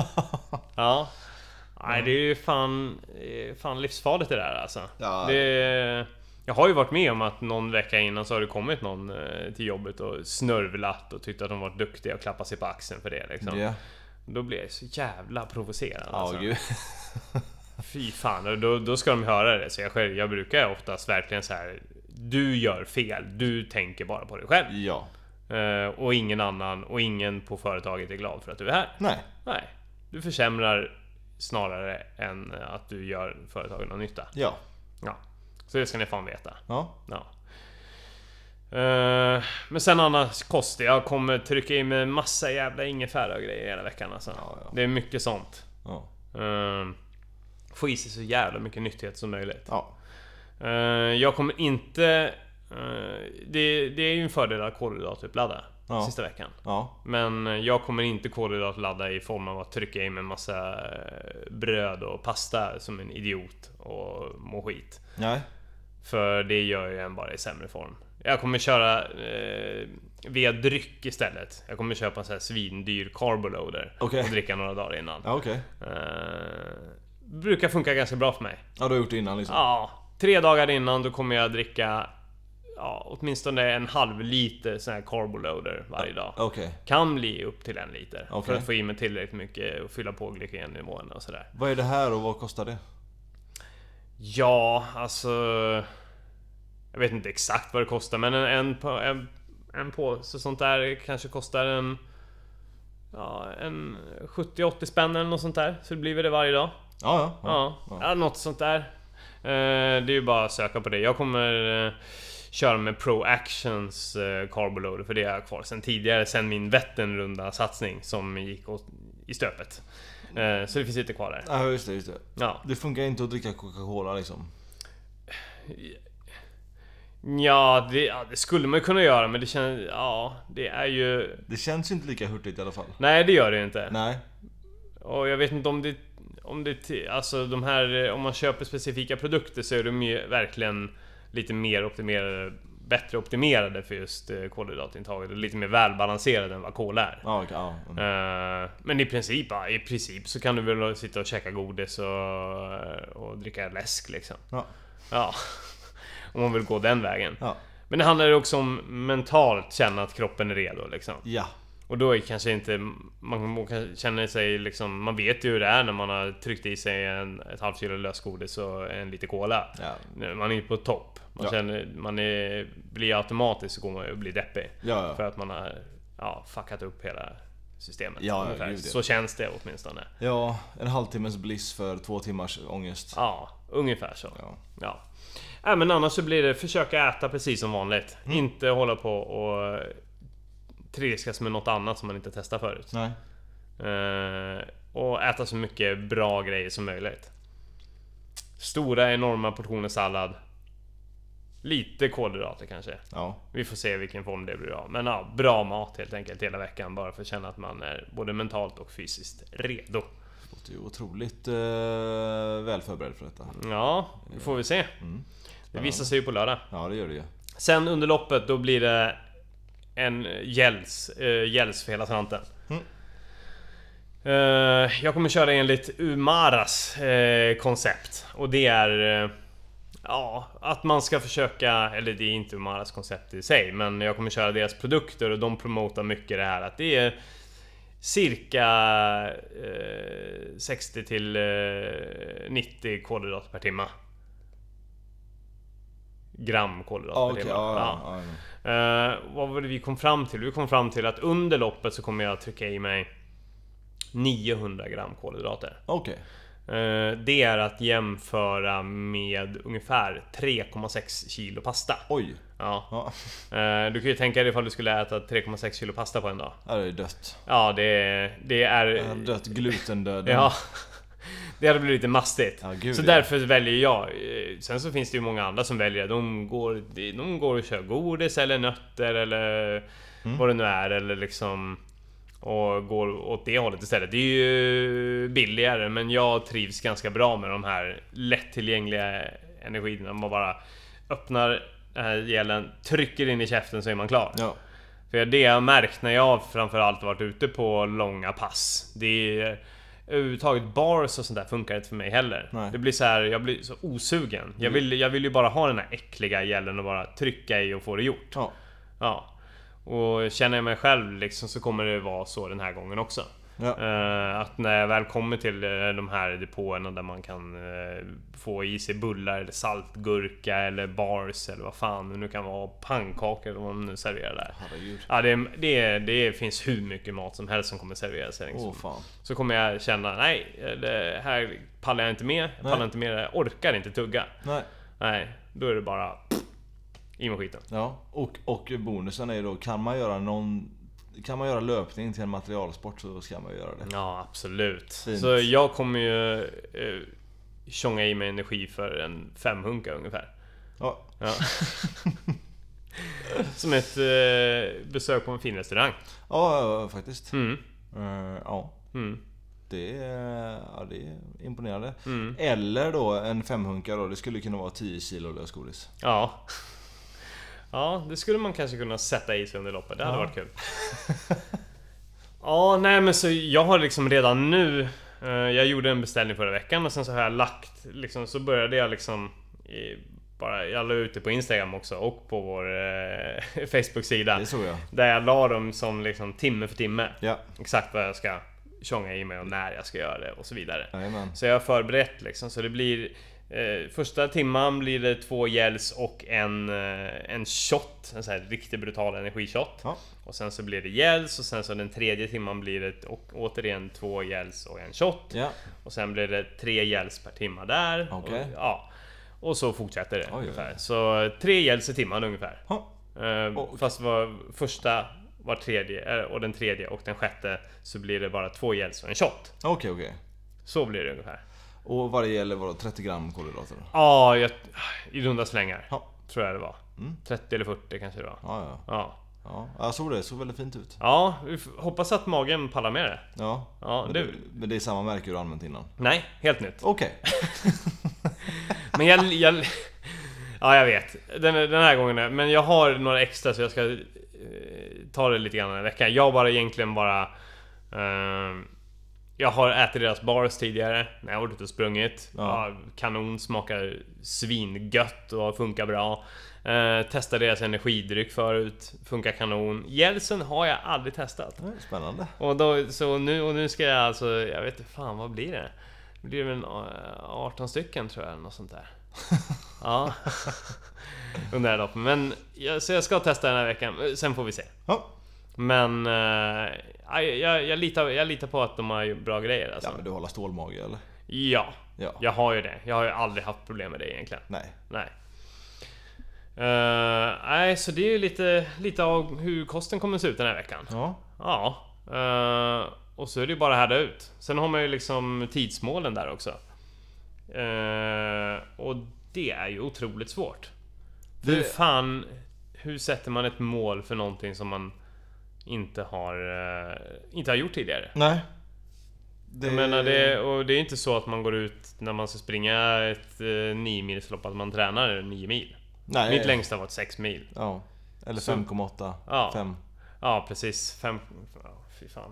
Speaker 2: Ja. Nej, det är ju fan, det är fan livsfarligt det där alltså.
Speaker 1: Ja.
Speaker 2: Det, jag har ju varit med om att någon vecka innan så har det kommit någon eh, till jobbet och snörvlat och tyckt att de varit duktiga och klappat sig på axeln för det liksom.
Speaker 1: Ja.
Speaker 2: Då blir jag så jävla provocerad
Speaker 1: Ja,
Speaker 2: alltså.
Speaker 1: gud.
Speaker 2: Fy fan, och då, då ska de höra det. Så jag, själv, jag brukar oftast verkligen så här. Du gör fel, du tänker bara på dig själv.
Speaker 1: Ja.
Speaker 2: Eh, och ingen annan och ingen på företaget är glad för att du är här.
Speaker 1: Nej.
Speaker 2: Nej, du försämrar snarare än att du gör företaget någon nytta.
Speaker 1: Ja.
Speaker 2: Ja, så det ska ni fan veta.
Speaker 1: Ja.
Speaker 2: Ja. Eh, men sen annars Kosti, jag kommer trycka in med massa jävla ingefära och grejer hela veckan alltså.
Speaker 1: Ja, ja.
Speaker 2: Det är mycket sånt.
Speaker 1: Ja.
Speaker 2: Uh,
Speaker 1: Ehm,
Speaker 2: få i sig så jävla mycket nyttighet som möjligt.
Speaker 1: ja.
Speaker 2: Eh, jag kommer inte... eh, det, det är ju en fördel att kolhydratupladda
Speaker 1: Ja.
Speaker 2: sista veckan.
Speaker 1: Ja.
Speaker 2: Men jag kommer inte kolhydratladda i form av att trycka i mig en massa eh, bröd och pasta som en idiot och må skit.
Speaker 1: Nej.
Speaker 2: För det gör ju en bara i sämre form. Jag kommer köra eh, via dryck istället. Jag kommer köpa en sån här svindyr carboloader
Speaker 1: Okej.
Speaker 2: och dricka några dagar innan.
Speaker 1: Ja okej.
Speaker 2: Eh, brukar funka ganska bra för mig.
Speaker 1: Ja du har gjort det innan liksom.
Speaker 2: Ja, tre dagar innan då kommer jag dricka ja, åtminstone en halv liter sån här carboloader varje dag.
Speaker 1: Okej.
Speaker 2: Kan bli upp till en liter. För
Speaker 1: Okej.
Speaker 2: att få i mig tillräckligt mycket och fylla på glykogennivåerna och sådär.
Speaker 1: Vad är det här och vad kostar det?
Speaker 2: Ja, alltså... Jag vet inte exakt vad det kostar men en, en, på- en, en påse sånt där kanske kostar en... Ja, en 70-80 spänn eller något sånt där. Så det blir väl det varje dag.
Speaker 1: Ja ja. ja.
Speaker 2: Ja, ja. något sånt där. Eh, Det är ju bara att söka på det. Jag kommer eh, köra med Pro Actions eh, Carboloader för det har jag kvar sen tidigare, sen min Vätternrunda satsning som gick åt, i stöpet. Eh, Så det finns lite kvar där.
Speaker 1: Ja just det, just det.
Speaker 2: Ja.
Speaker 1: Det funkar inte att dricka Coca-Cola liksom.
Speaker 2: Ja, det, ja, det skulle man ju kunna göra men det känns... Ja, det är ju...
Speaker 1: Det känns ju inte lika hurtigt i alla fall.
Speaker 2: Nej, det gör det ju inte.
Speaker 1: Nej.
Speaker 2: Och jag vet inte om det... Om det... ti- Alltså de här... eh, Om man köper specifika produkter så är de ju verkligen lite mer optimerade... Bättre optimerade för just eh, kolhydratintaget och lite mer välbalanserade än vad kol är.
Speaker 1: Ja, okej, ja. Mm.
Speaker 2: Eh, Men i princip, ja, i princip så kan du väl sitta och käka godis och, och dricka läsk liksom.
Speaker 1: ja.
Speaker 2: Ja. Om man vill gå den vägen.
Speaker 1: Ja.
Speaker 2: Men det handlar ju också om mentalt känna att kroppen är redo liksom.
Speaker 1: Ja.
Speaker 2: Och då är kanske inte... Man må- kanske känner sig liksom... Man vet ju hur det är när man har tryckt i sig en, ett halvt kilo lösgodis och en liter cola.
Speaker 1: Ja.
Speaker 2: Man är ju på topp. Man,
Speaker 1: Ja.
Speaker 2: känner, man är, blir automatiskt så går man och blir deppig.
Speaker 1: Ja, ja.
Speaker 2: För att man har ja, fuckat upp hela systemet.
Speaker 1: Ja, ja,
Speaker 2: ungefär.
Speaker 1: gud, ja.
Speaker 2: så känns det åtminstone.
Speaker 1: Ja, en halvtimmes bliss för två timmars ångest.
Speaker 2: Ja, ungefär så.
Speaker 1: Ja.
Speaker 2: Ja. Äh, men annars så blir det försöka äta precis som vanligt.
Speaker 1: Mm.
Speaker 2: Inte hålla på och trilskas med något annat som man inte testat förut.
Speaker 1: Nej.
Speaker 2: Eh, och äta så mycket bra grejer som möjligt. Stora enorma portioner sallad. Lite kolhydrater kanske.
Speaker 1: Ja.
Speaker 2: Vi får se vilken form det blir av. Men ja, bra mat helt enkelt hela veckan bara för att känna att man är både mentalt och fysiskt redo.
Speaker 1: Låter ju otroligt eh, väl förberedd för detta. Mm.
Speaker 2: Ja, det får vi se. Det visar sig ju på lördag.
Speaker 1: Ja, det gör det ju.
Speaker 2: Sen under loppet då blir det en gälls, eh, gälls för hela slanten. Eh, jag kommer köra enligt Umaras eh, koncept och det är eh, Ja, att man ska försöka, eller det är inte Umaras koncept i sig, men jag kommer köra deras produkter och de promotar mycket det här att det är cirka eh, 60 till eh, 90 kolhydrater per timme. Gram kolhydrater
Speaker 1: Ja,
Speaker 2: per
Speaker 1: okej.
Speaker 2: timme.
Speaker 1: Ja,
Speaker 2: Ja.
Speaker 1: ja, ja. ja.
Speaker 2: Eh, vad var det vi kom fram till? Vi kom fram till att under loppet så kommer jag trycka i mig 900 gram kolhydrater.
Speaker 1: Okej.
Speaker 2: Eh, det är att jämföra med ungefär 3,6 kilo pasta.
Speaker 1: Oj.
Speaker 2: Ja.
Speaker 1: Ja.
Speaker 2: Eh, du kan ju tänka dig ifall du skulle äta 3,6 kilo pasta på en dag.
Speaker 1: Här är det dött.
Speaker 2: Ja, det, det
Speaker 1: Jag
Speaker 2: är...
Speaker 1: har dött glutendöden.
Speaker 2: Ja. Det hade blivit lite mastigt.
Speaker 1: Ja, gud,
Speaker 2: så
Speaker 1: ja.
Speaker 2: därför väljer jag. Eh, Sen så finns det ju många andra som väljer. De går, de går och kör godis eller nötter eller
Speaker 1: Mm.
Speaker 2: vad det nu är. Eller liksom... Och går åt det hållet istället. Det är ju billigare men jag trivs ganska bra med de här lättillgängliga energierna. Man bara öppnar den här gelen, trycker in i käften så är man klar.
Speaker 1: Ja.
Speaker 2: För det jag har märkt när jag framförallt varit ute på långa pass, det är överhuvudtaget bars och sånt där funkar inte för mig heller.
Speaker 1: Nej. Mm.
Speaker 2: Det blir så här, jag blir så osugen. Jag vill, jag vill ju bara ha den här äckliga gällen och bara trycka i och få det gjort.
Speaker 1: Ja.
Speaker 2: Ja. Och känner jag mig själv liksom så kommer det vara så den här gången också.
Speaker 1: Ja.
Speaker 2: Eh, att när jag väl kommer till eh, de här depåerna där man kan eh, få i sig bullar eller saltgurka eller bars eller vad fan det nu kan vara. Pannkakor eller vad de nu serverar där.
Speaker 1: Herregud.
Speaker 2: Ja, det, det, det finns hur mycket mat som helst som kommer serveras. här,
Speaker 1: Åh
Speaker 2: Liksom.
Speaker 1: fan.
Speaker 2: Så kommer jag känna, nej, det här pallar jag inte med. Jag
Speaker 1: Nej.
Speaker 2: pallar inte med det, jag orkar inte tugga.
Speaker 1: Nej.
Speaker 2: Nej, då är det bara... I med skiten.
Speaker 1: Ja, och, och bonusen är ju då, kan man göra någon... Kan man göra löpning till en materialsport så ska man ju göra det.
Speaker 2: Ja, absolut.
Speaker 1: Fint.
Speaker 2: Så jag kommer ju eh, tjonga i mig energi för en femhunka ungefär.
Speaker 1: Ja,
Speaker 2: Ja. Som ett eh, besök på en fin restaurang.
Speaker 1: ja, ja, ja faktiskt.
Speaker 2: Mm.
Speaker 1: Eh, ja,
Speaker 2: Mm.
Speaker 1: det är, ja, det är imponerande.
Speaker 2: Mm.
Speaker 1: Eller då en femhunka då, det skulle kunna vara 10 kilo lösgodis.
Speaker 2: Ja. Ja, det skulle man kanske kunna sätta i sig under loppet. Det hade
Speaker 1: Ja.
Speaker 2: varit kul. Ja, nej men så jag har liksom redan nu... eh, Jag gjorde en beställning förra veckan och sen så har jag lagt... Liksom, så började jag liksom... eh, Bara, jag la ut det på Instagram också och på vår eh, Facebook-sida.
Speaker 1: Det såg jag.
Speaker 2: Där jag la dem som liksom timme för timme.
Speaker 1: Ja,
Speaker 2: Exakt vad jag ska tjonga i mig och när jag ska göra det och så vidare.
Speaker 1: jajamän.
Speaker 2: Så jag har förberett liksom, så det blir... Eh, första timman blir det två gels och en, eh, en shot, en sån här riktigt brutal energishot.
Speaker 1: Ja.
Speaker 2: Och sen så blir det gels och sen så den tredje timman blir det och, återigen två gels och en shot.
Speaker 1: Ja,
Speaker 2: Och sen blir det tre gels per timma där.
Speaker 1: Okej.
Speaker 2: Och, ja. och så fortsätter det
Speaker 1: oj, oj.
Speaker 2: ungefär. Så eh, tre gels i timman ungefär.
Speaker 1: ha.
Speaker 2: Eh,
Speaker 1: Och-
Speaker 2: Fast var första, var tredje, eh, och den tredje och den sjätte så blir det bara två gels och en shot.
Speaker 1: okej okej.
Speaker 2: Så blir det ungefär.
Speaker 1: Och vad det gäller vadå, 30 gram kolhydrater? då?
Speaker 2: Ja, jag, i runda slängar.
Speaker 1: Ja.
Speaker 2: Tror jag det var. 30 eller 40 kanske det var.
Speaker 1: Ja, ja.
Speaker 2: Ja.
Speaker 1: ja. Jag såg det, det såg väldigt fint ut.
Speaker 2: Ja, vi f- hoppas att magen pallar med det.
Speaker 1: Ja.
Speaker 2: Ja,
Speaker 1: Men
Speaker 2: det-
Speaker 1: men det är samma märke du har använt innan?
Speaker 2: Nej, helt nytt.
Speaker 1: Okej.
Speaker 2: Men jag... jag ja, jag vet. Den, den här gången. är- Men jag har några extra så jag ska eh, ta det lite grann den här veckan. Jag har bara egentligen bara... ehm, jag har ätit deras bars tidigare när jag har varit ute och sprungit.
Speaker 1: Ja.
Speaker 2: Ja. kanon, smakar svingött och funkar bra. Eh, testade deras energidryck förut, funkar kanon. Gelsen har jag aldrig testat.
Speaker 1: Det är Spännande.
Speaker 2: Och, då, så nu, och nu ska jag alltså, jag vet inte fan vad blir det? Det blir väl en, eh, 18 stycken tror jag, eller något sånt där. ja. Under det här loppet. Men, jag, så jag ska testa den här veckan, eh, sen får vi se.
Speaker 1: Ja.
Speaker 2: Men, eh, aj, jag, jag, litar, jag litar på att de har gjort bra grejer alltså.
Speaker 1: ja, men du håller stålmage eller?
Speaker 2: Ja,
Speaker 1: Ja.
Speaker 2: jag har ju det. Jag har ju aldrig haft problem med det egentligen.
Speaker 1: Nej.
Speaker 2: Nej. Eh, nej, så det är ju lite, lite av hur kosten kommer se ut den här veckan.
Speaker 1: Ja.
Speaker 2: Ja. eh, och så är det ju bara att härda ut. Sen har man ju liksom tidsmålen där också. Eh, och det är ju otroligt svårt. Hur
Speaker 1: Det,
Speaker 2: fan... Hur sätter man ett mål för någonting som man inte har, eh, inte har gjort tidigare?
Speaker 1: nej. Det,
Speaker 2: Jag menar det, och det är inte så att man går ut när man ska springa ett eh, 9 milslopp att man tränar 9 mil.
Speaker 1: Nej.
Speaker 2: Mitt längsta var 6 mil.
Speaker 1: Ja. Eller
Speaker 2: Så-
Speaker 1: 5,8.
Speaker 2: Ja.
Speaker 1: 5.
Speaker 2: Ja, precis. Fem... Ja, fy fan.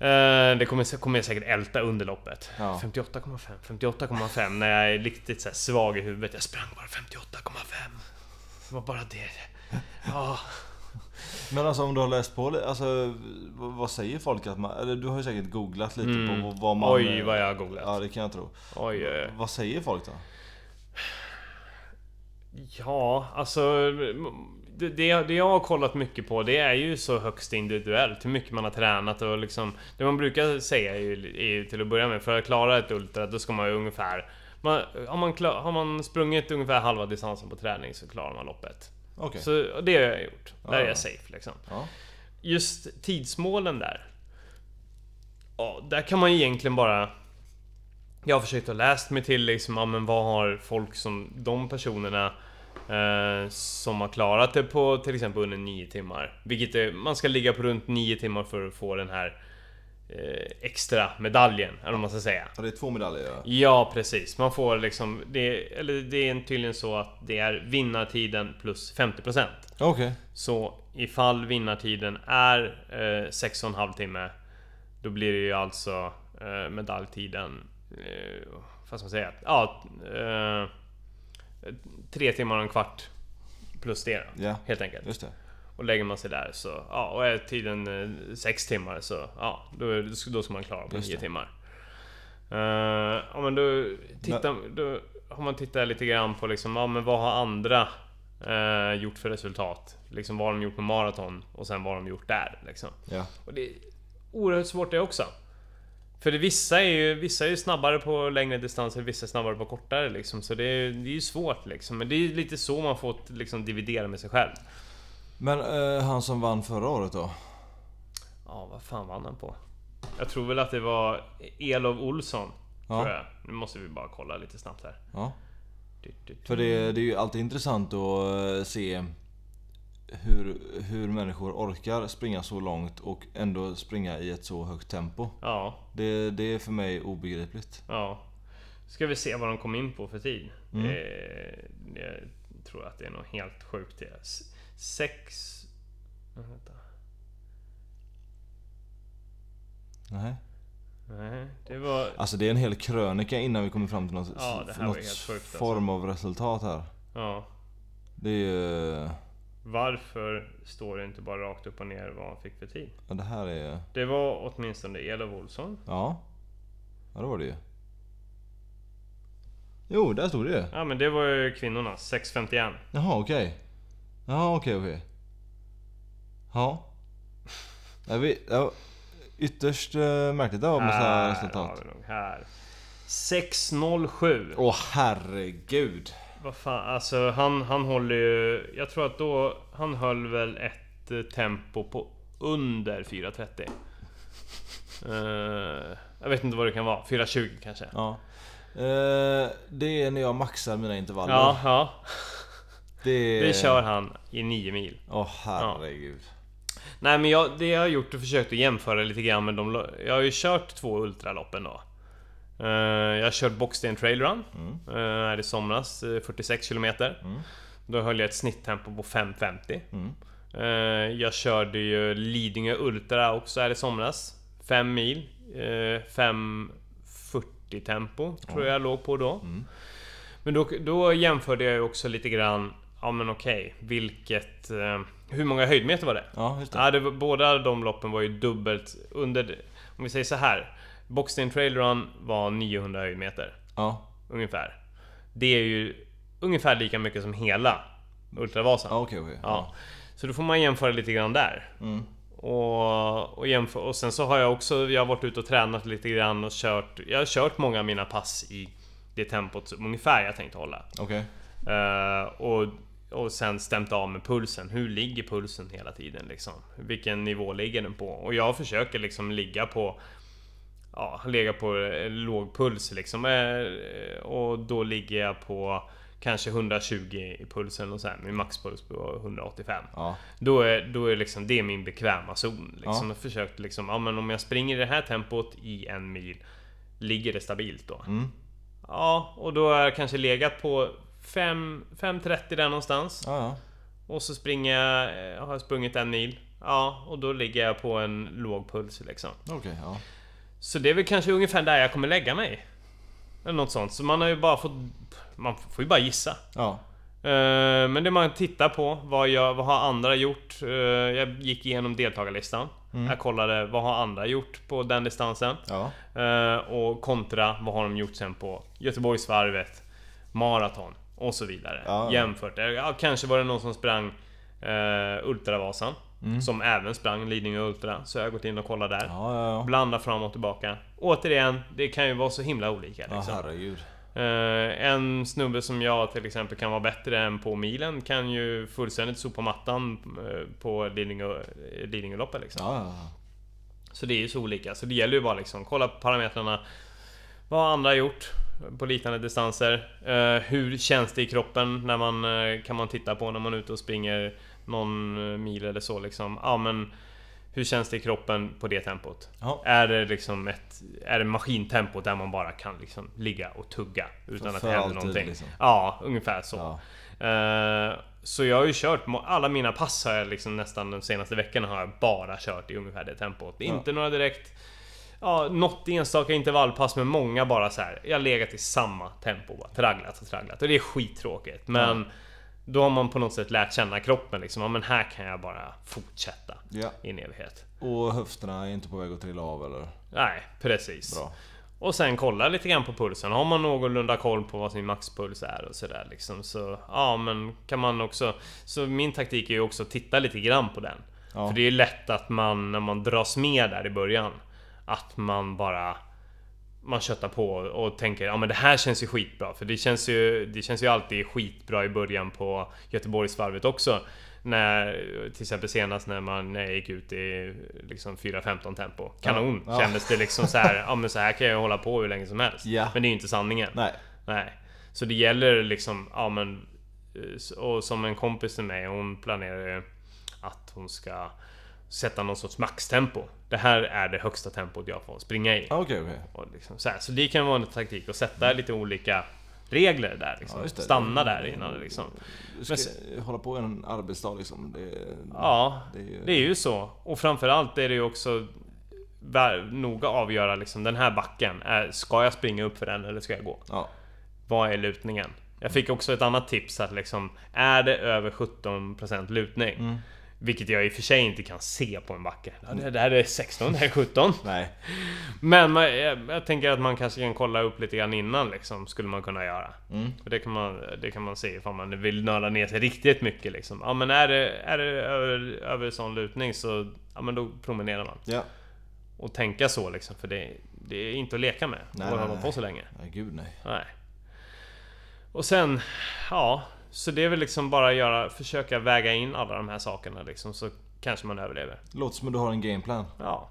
Speaker 2: Eh, Det kommer, kommer jag säkert älta under loppet.
Speaker 1: Ja.
Speaker 2: 58,5, 58,5 när jag är riktigt så här svag i huvudet. Jag sprang bara 58,5. Det var bara det. Ja.
Speaker 1: Men alltså om du har läst på lite, alltså vad vad säger folk att man... Eller du har ju säkert googlat lite
Speaker 2: Mm.
Speaker 1: på vad man... eh,
Speaker 2: Oj, vad jag Eh. har googlat.
Speaker 1: Ja, det kan jag tro.
Speaker 2: Oj, oj, oj.
Speaker 1: Vad säger folk då?
Speaker 2: Ja, alltså... Det, det, det jag har kollat mycket på det är ju så högst individuellt. Hur mycket man har tränat och liksom... Det man brukar säga är ju, är ju till att börja med, för att klara ett ultra då ska man ju ungefär... Man, har, man klar, har man sprungit ungefär halva distansen på träning så klarar man loppet.
Speaker 1: Okej.
Speaker 2: Så och det har jag gjort. Där är
Speaker 1: Ja.
Speaker 2: jag safe liksom.
Speaker 1: Ja.
Speaker 2: Just tidsmålen där. Ja, där kan man ju egentligen bara... Jag har försökt att läst mig till liksom, ja, men vad har folk som de personerna eh, som har klarat det på till exempel under 9 timmar. Vilket är, man ska ligga på runt 9 timmar för att få den här eh, extra medaljen, eller vad man ska säga.
Speaker 1: Ja, det är två medaljer ja.
Speaker 2: Ja, precis. Man får liksom... Det, eller det är tydligen så att det är vinnartiden plus 50%.
Speaker 1: Okej.
Speaker 2: Så ifall vinnartiden är eh, 6,5 timme Då blir det ju alltså eh, medaljtiden eh, Vad ska man säga? Ja, eh, tre timmar och en kvart Plus det då,
Speaker 1: Ja.
Speaker 2: helt enkelt.
Speaker 1: Just det.
Speaker 2: Och lägger man sig där så, ja, och är tiden eh, sex timmar så, ja, då, är- då ska- då ska man klara på
Speaker 1: Just
Speaker 2: nio
Speaker 1: det.
Speaker 2: timmar. Eh, ja men då, titta, då har man tittat lite grann på liksom, ja men vad har andra eh, gjort för resultat? Liksom vad har de gjort på maraton och sen vad har de gjort där liksom.
Speaker 1: Ja.
Speaker 2: Och det är oerhört svårt det också. För det, vissa är ju vissa är ju snabbare på längre distanser, vissa är snabbare på kortare liksom. Så det är, det är ju svårt liksom. Men det är lite så man får liksom dividera med sig själv.
Speaker 1: Men eh, han som vann förra året då?
Speaker 2: Ja, vad fan vann han på? Jag tror väl att det var Elov Olsson.
Speaker 1: Ja.
Speaker 2: Tror jag. Nu måste vi bara kolla lite snabbt här.
Speaker 1: Ja.
Speaker 2: Du, du, du.
Speaker 1: För det, det är ju alltid intressant att eh, se hur, hur människor orkar springa så långt och ändå springa i ett så högt tempo.
Speaker 2: Ja,
Speaker 1: Det, det är för mig obegripligt.
Speaker 2: ja. Ska vi se vad de kom in på för tid. Eh, jag tror att det är något helt sjukt. Det. S- Sex... Vänta.
Speaker 1: Nej.
Speaker 2: Nej, det var...
Speaker 1: Alltså det är en hel krönika innan vi kommer fram till något,
Speaker 2: Ja, det här var
Speaker 1: något
Speaker 2: helt sjukt, alltså.
Speaker 1: form av resultat här.
Speaker 2: Ja.
Speaker 1: Det är ju...
Speaker 2: Varför står det inte bara rakt upp och ner vad han fick för tid?
Speaker 1: Ja, det här är...
Speaker 2: Det var åtminstone Elof Olsson.
Speaker 1: Ja. Ja, det var det ju. Jo, där stod det ju.
Speaker 2: Ja men det var ju kvinnorna, 6.51.
Speaker 1: Jaha, okej. Jaha, okej, okej. Ja. Jag vet, ja, ytterst eh, märkligt det var med sådana här
Speaker 2: har
Speaker 1: resultat.
Speaker 2: vi nog här. 6.07.
Speaker 1: Åh herregud.
Speaker 2: Vad fan, alltså han, han håller ju... Jag tror att då... Han höll väl ett eh, tempo på under 4.30. Eh, jag vet inte vad det kan vara. 4.20 kanske?
Speaker 1: Ja. Eh, det är när jag maxar mina intervaller.
Speaker 2: Ja, ja.
Speaker 1: Det,
Speaker 2: Det kör han i 9 mil.
Speaker 1: Åh herregud.
Speaker 2: Nej men jag, det jag har gjort och försökt att jämföra lite grann med de... lo- Jag har ju kört två ultraloppen då. Eh, jag har kört Boxsten Trail Run. eh, här i somras, eh, 46 km. Då höll jag ett snitttempo på 5.50.
Speaker 1: Mm.
Speaker 2: Eh, jag körde ju Lidingö Ultra också här i somras. 5 mil. eh, 5.40 tempo tror jag jag låg på då. Men då, då jämförde jag ju också lite grann, ja men okej, vilket... eh, hur många höjdmeter var det?
Speaker 1: Ja, just det.
Speaker 2: Ja, det var, båda de loppen var ju dubbelt under... Om vi säger så här. Boxing Trail Run var 900 höjdmeter,
Speaker 1: Ja.
Speaker 2: ungefär. Det är ju ungefär lika mycket som hela Ultravasan.
Speaker 1: Ja, okej, Mm, okej.
Speaker 2: Ja. Så då får man jämföra lite grann där. Och, och, jämför, och sen så har jag också jag har varit ute och tränat lite grann och kört... Jag har kört många av mina pass i det tempot som ungefär jag tänkte hålla.
Speaker 1: Okej.
Speaker 2: Eh, och, och sen stämt av med pulsen. Hur ligger pulsen hela tiden? Liksom? Vilken nivå ligger den på? Och jag försöker liksom ligga på... Ja, ligga på eh, låg puls liksom. Eh, Och då ligger jag på kanske 120 i pulsen och sen min maxpuls på 185.
Speaker 1: Ja.
Speaker 2: Då är, då är liksom, det är min bekväma zon. Liksom. Jag försökt liksom, ja, men om jag springer i det här tempot i en mil, ligger det stabilt då?
Speaker 1: Mm.
Speaker 2: Ja, och då har jag kanske legat på fem- 5.30 där någonstans.
Speaker 1: Ja, ja.
Speaker 2: Och så springer jag, eh, har jag sprungit en mil. Ja, och då ligger jag på en låg puls liksom.
Speaker 1: Okej, ja.
Speaker 2: Så det är väl kanske ungefär där jag kommer lägga mig. Eller något sånt. Så man har ju bara fått... Man får ju bara gissa.
Speaker 1: Ja.
Speaker 2: Eh, Men det man tittar på, vad, gör, vad har andra gjort? Eh, Jag gick igenom deltagarlistan. Jag kollade, vad har andra gjort på den distansen?
Speaker 1: Ja.
Speaker 2: Eh, Och kontra, vad har de gjort sen på Göteborgsvarvet, maraton och så vidare.
Speaker 1: Ja, ja.
Speaker 2: Jämfört. Eh, Ja, kanske var det någon som sprang eh, Ultravasan. Som även sprang Lidingö Ultra. Så jag har gått in och kollat där.
Speaker 1: Mm. Ja, ja, ja.
Speaker 2: Blanda fram och tillbaka. Återigen, det kan ju vara så himla olika.
Speaker 1: Ja,
Speaker 2: Liksom.
Speaker 1: herregud.
Speaker 2: Eh, en snubbe som jag till exempel kan vara bättre än på milen kan ju fullständigt sopa mattan eh, på Lidingö- Lidingöloppet liksom.
Speaker 1: Ja, ja, ja.
Speaker 2: Så det är ju så olika. Så det gäller ju bara liksom kolla på parametrarna. Vad har andra gjort på liknande distanser? Eh, hur känns det i kroppen? När man, eh, kan man titta på när man är ute och springer någon eh, mil eller så liksom. Ja men hur känns det i kroppen på det tempot?
Speaker 1: Ja.
Speaker 2: Är det liksom ett är det maskintempo där man bara kan liksom ligga och tugga utan
Speaker 1: För
Speaker 2: att det händer
Speaker 1: alltid,
Speaker 2: någonting?
Speaker 1: liksom.
Speaker 2: Ja, ungefär så.
Speaker 1: Ja.
Speaker 2: Eh, så jag har ju kört, må- alla mina pass har jag liksom nästan de senaste veckorna har jag bara kört i ungefär det tempot. Det är
Speaker 1: Ja.
Speaker 2: Inte några direkt... Ja, något enstaka intervallpass men många bara så här. Jag har legat i samma tempo bara, tragglat och tragglat. Och det är skittråkigt men... Då har man på något sätt lärt känna kroppen liksom. Ja men här kan jag bara fortsätta
Speaker 1: Ja.
Speaker 2: i en evighet.
Speaker 1: Och höfterna är inte på väg att trilla av eller?
Speaker 2: Nej, precis.
Speaker 1: Bra.
Speaker 2: Och sen kolla lite grann på pulsen. Har man någorlunda koll på vad sin maxpuls är och sådär liksom. Så ja, men kan man också... Så min taktik är ju också att titta lite grann på den.
Speaker 1: Ja.
Speaker 2: För det är ju lätt att man, när man dras med där i början, att man bara... man köttar på och tänker ja men det här känns ju skitbra. För det känns ju, det känns ju alltid skitbra i början på Göteborgsvarvet också. När, till exempel senast när man eh, gick ut i liksom 4-15 tempo. Kanon!
Speaker 1: Ja.
Speaker 2: Kändes det liksom så här, ja men så här kan jag hålla på hur länge som helst.
Speaker 1: Ja.
Speaker 2: Men det är ju inte sanningen.
Speaker 1: Nej.
Speaker 2: Nej. Så det gäller liksom, ja men... eh, s- Och som en kompis till mig, hon planerar ju att hon ska sätta någon sorts maxtempo. Det här är det högsta tempot jag får springa i.
Speaker 1: Ja, Okej, okej.
Speaker 2: Och liksom, så, här. så det kan vara en taktik att sätta lite olika regler där. Liksom.
Speaker 1: Ja, just det.
Speaker 2: Stanna där innan liksom.
Speaker 1: Du ska hålla på en arbetsdag liksom. Det är,
Speaker 2: Ja,
Speaker 1: Det är ju-
Speaker 2: det är ju så. Och framförallt är det ju också vär- noga avgöra liksom, den här backen. Är, ska jag springa upp för den eller ska jag gå?
Speaker 1: ja.
Speaker 2: Vad är lutningen? Jag fick också ett annat tips att liksom, är det över 17% lutning?
Speaker 1: Mm.
Speaker 2: Vilket jag i och för sig inte kan se på en backe. Ja, det det här är 16, det här är 17.
Speaker 1: Nej.
Speaker 2: Men man, jag, jag tänker att man kanske kan kolla upp lite grann innan liksom, skulle man kunna göra.
Speaker 1: Mm.
Speaker 2: För det kan man, det kan man se ifall man vill nörda ner sig riktigt mycket liksom. Ja men är det, är det över, över sån lutning så, ja men då promenerar man.
Speaker 1: Ja.
Speaker 2: Och tänka så liksom, för det, det är inte att leka med.
Speaker 1: Nej,
Speaker 2: Nej, och
Speaker 1: nej,
Speaker 2: hålla
Speaker 1: nej.
Speaker 2: på så länge.
Speaker 1: Nej, gud nej.
Speaker 2: Nej. Och sen, ja. Så det är väl liksom bara göra, försöka väga in alla de här sakerna liksom, så kanske man överlever.
Speaker 1: Låter som att du har en gameplan.
Speaker 2: Ja.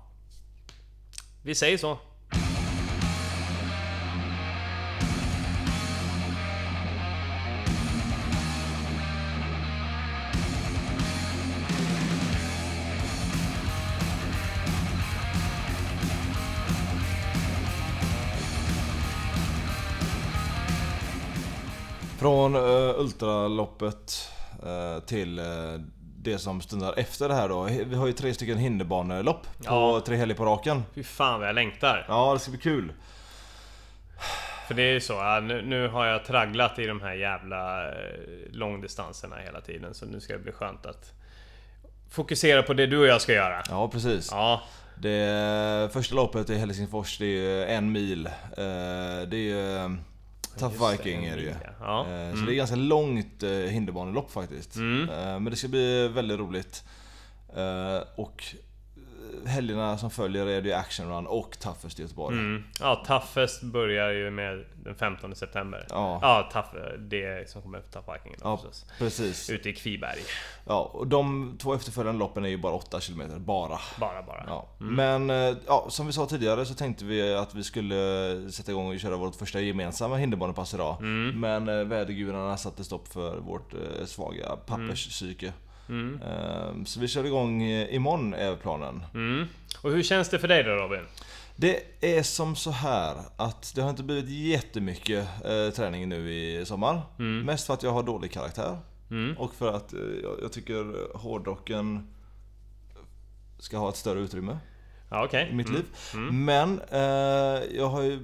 Speaker 2: Vi säger så.
Speaker 1: Från eh, Ultraloppet eh, till eh, det som stundar efter det här då. Vi har ju tre stycken hinderbanelopp på
Speaker 2: Ja.
Speaker 1: tre helger på raken.
Speaker 2: Fy fan vad jag längtar.
Speaker 1: Ja, det ska bli kul.
Speaker 2: För det är ju så, ja, nu, nu har jag tragglat i de här jävla eh, långdistanserna hela tiden. Så nu ska det bli skönt att fokusera på det du och jag ska göra.
Speaker 1: Ja, precis.
Speaker 2: Ja,
Speaker 1: Det eh, första loppet i Helsingfors, det är ju en mil. Eh, Det är ju... eh, Tough
Speaker 2: Just
Speaker 1: Viking
Speaker 2: det, en
Speaker 1: är det ju.
Speaker 2: mil, ja. Ja.
Speaker 1: Eh, Så det är ganska långt eh, hinderbanelopp faktiskt. Eh, Men det ska bli väldigt roligt. Eh, Och eh, helgerna som följer är det ju Action Run och Toughest i Göteborg.
Speaker 2: mm. ja Toughest börjar ju med den 15 september.
Speaker 1: Ja.
Speaker 2: ja tough, det som kommer efter Tough Viking då,
Speaker 1: Ja,
Speaker 2: förstås.
Speaker 1: precis.
Speaker 2: Ute i Kviberg.
Speaker 1: Ja, och de två efterföljande loppen är ju bara 8 km, bara.
Speaker 2: Bara, bara.
Speaker 1: Ja. Men eh, ja, som vi sa tidigare så tänkte vi att vi skulle sätta igång och köra vårt första gemensamma hinderbanepass idag. Men eh, vädergudarna satte stopp för vårt eh, svaga papperspsyke. Eh, Så vi kör igång eh, imorgon är planen.
Speaker 2: Mm. Och hur känns det för dig då Robin?
Speaker 1: Det är som så här att det har inte blivit jättemycket eh, träning nu i sommar. Mest för att jag har dålig karaktär. Och för att eh, jag, jag tycker hårdrocken ska ha ett större utrymme
Speaker 2: Ja, okej.
Speaker 1: i mitt liv.
Speaker 2: Mm.
Speaker 1: Men eh, jag har ju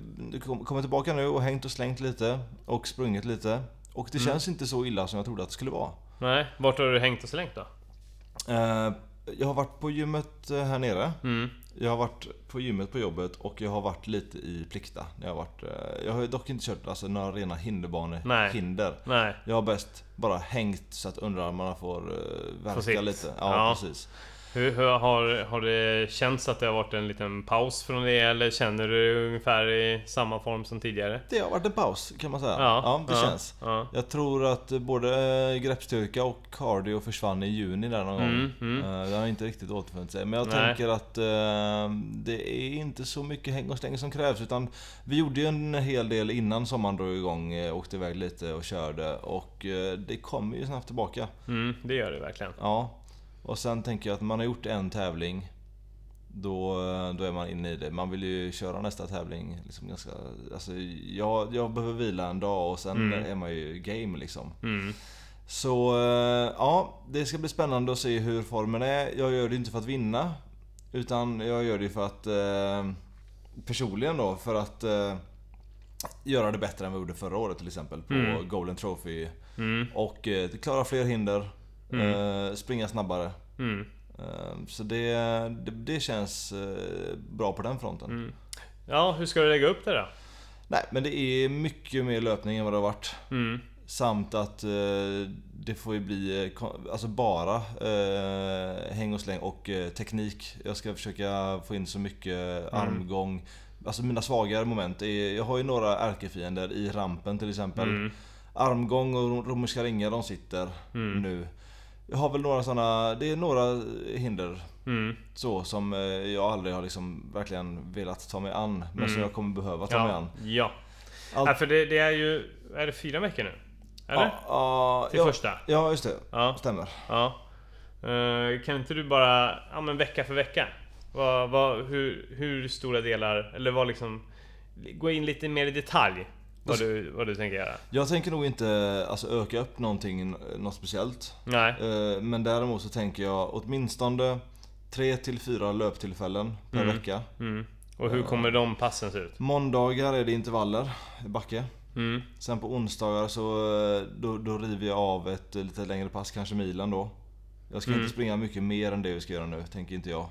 Speaker 1: kom- kommit tillbaka nu och hängt och slängt lite och sprungit lite. Och
Speaker 2: Mm.
Speaker 1: det känns inte så illa som jag trodde att det skulle vara.
Speaker 2: Nej, vart har du hängt och slängt då?
Speaker 1: Eh, jag har varit på gymmet eh, här nere.
Speaker 2: Mm.
Speaker 1: Jag har varit på gymmet på jobbet och jag har varit lite i Plikta. Jag har, varit, eh, jag har ju dock inte kört alltså, några rena
Speaker 2: Nej.
Speaker 1: hinderbanehinder.
Speaker 2: Nej.
Speaker 1: Jag har bäst bara hängt så att underarmarna får eh, verka
Speaker 2: sitt.
Speaker 1: lite. Ja,
Speaker 2: Ja.
Speaker 1: precis.
Speaker 2: Hur, hur har, har det känts att det har varit en liten paus från det eller känner du dig ungefär i samma form som tidigare?
Speaker 1: Det har varit en paus kan man säga.
Speaker 2: Ja,
Speaker 1: Ja, det
Speaker 2: ja,
Speaker 1: känns.
Speaker 2: ja.
Speaker 1: Jag tror att både eh, greppstyrka och cardio försvann i juni där någon
Speaker 2: Mm,
Speaker 1: gång. Eh, Det har inte riktigt återfunnit sig. Men jag
Speaker 2: Nej.
Speaker 1: tänker att eh, det är inte så mycket häng och släng som krävs. Utan vi gjorde ju en hel del innan sommaren drog igång. eh, Åkte iväg lite och körde. Och eh, det kommer ju snabbt tillbaka.
Speaker 2: Mm, det gör det verkligen.
Speaker 1: Ja. Och sen tänker jag att man har gjort en tävling. Då, då är man inne i det. Man vill ju köra nästa tävling. Liksom ganska, alltså jag, jag behöver vila en dag och sen är man ju game liksom.
Speaker 2: Mm.
Speaker 1: Så eh, ja, det ska bli spännande att se hur formen är. Jag gör det inte för att vinna. Utan jag gör det för att eh, personligen då, för att eh, göra det bättre än vad jag gjorde förra året till exempel på Golden Trophy.
Speaker 2: Mm.
Speaker 1: Och eh, klara fler hinder, eh, springa snabbare.
Speaker 2: Mm.
Speaker 1: Eh, så det, det, det känns eh, bra på den fronten.
Speaker 2: Ja, hur ska du lägga upp det då?
Speaker 1: Nej, men det är mycket mer löpning än vad det har varit.
Speaker 2: Mm.
Speaker 1: Samt att eh, det får ju bli eh, kon- alltså bara
Speaker 2: Mm.
Speaker 1: eh, häng och släng och eh, teknik. Jag ska försöka få in så mycket eh, armgång, Alltså mina svagare moment är, jag har ju några ärkefiender i rampen till exempel.
Speaker 2: Mm.
Speaker 1: Armgång och rom- romerska ringar de sitter
Speaker 2: Mm.
Speaker 1: nu. Jag har väl några sådana, det är några eh, hinder
Speaker 2: Mm.
Speaker 1: så som eh, jag aldrig har liksom verkligen velat ta mig an. Men som jag kommer behöva ta mig an.
Speaker 2: Mm. Ja. ja.
Speaker 1: Allt-
Speaker 2: ja för det, det är ju... Är det fyra veckor nu? Eller?
Speaker 1: Ja, ja,
Speaker 2: Till
Speaker 1: ja,
Speaker 2: första?
Speaker 1: Ja, just det.
Speaker 2: Ja.
Speaker 1: Stämmer.
Speaker 2: ja. Eh, kan inte du bara... Ja men vecka för vecka. Vad, vad, hur, hur stora delar... Eller vad liksom... Gå in lite mer i detalj. Vad du, vad du tänker göra.
Speaker 1: Jag tänker nog inte alltså, öka upp någonting, något speciellt.
Speaker 2: Nej.
Speaker 1: Eh, Men däremot så tänker jag åtminstone 3 till 4 löptillfällen per vecka.
Speaker 2: Mm. Och hur kommer de passen se ut?
Speaker 1: Måndagar är det intervaller i backe.
Speaker 2: Mm.
Speaker 1: Sen på onsdagar så eh, då, då river jag av ett eh, lite längre pass, kanske milen då. Jag ska
Speaker 2: Mm.
Speaker 1: inte springa mycket mer än det vi ska göra nu, tänker inte jag.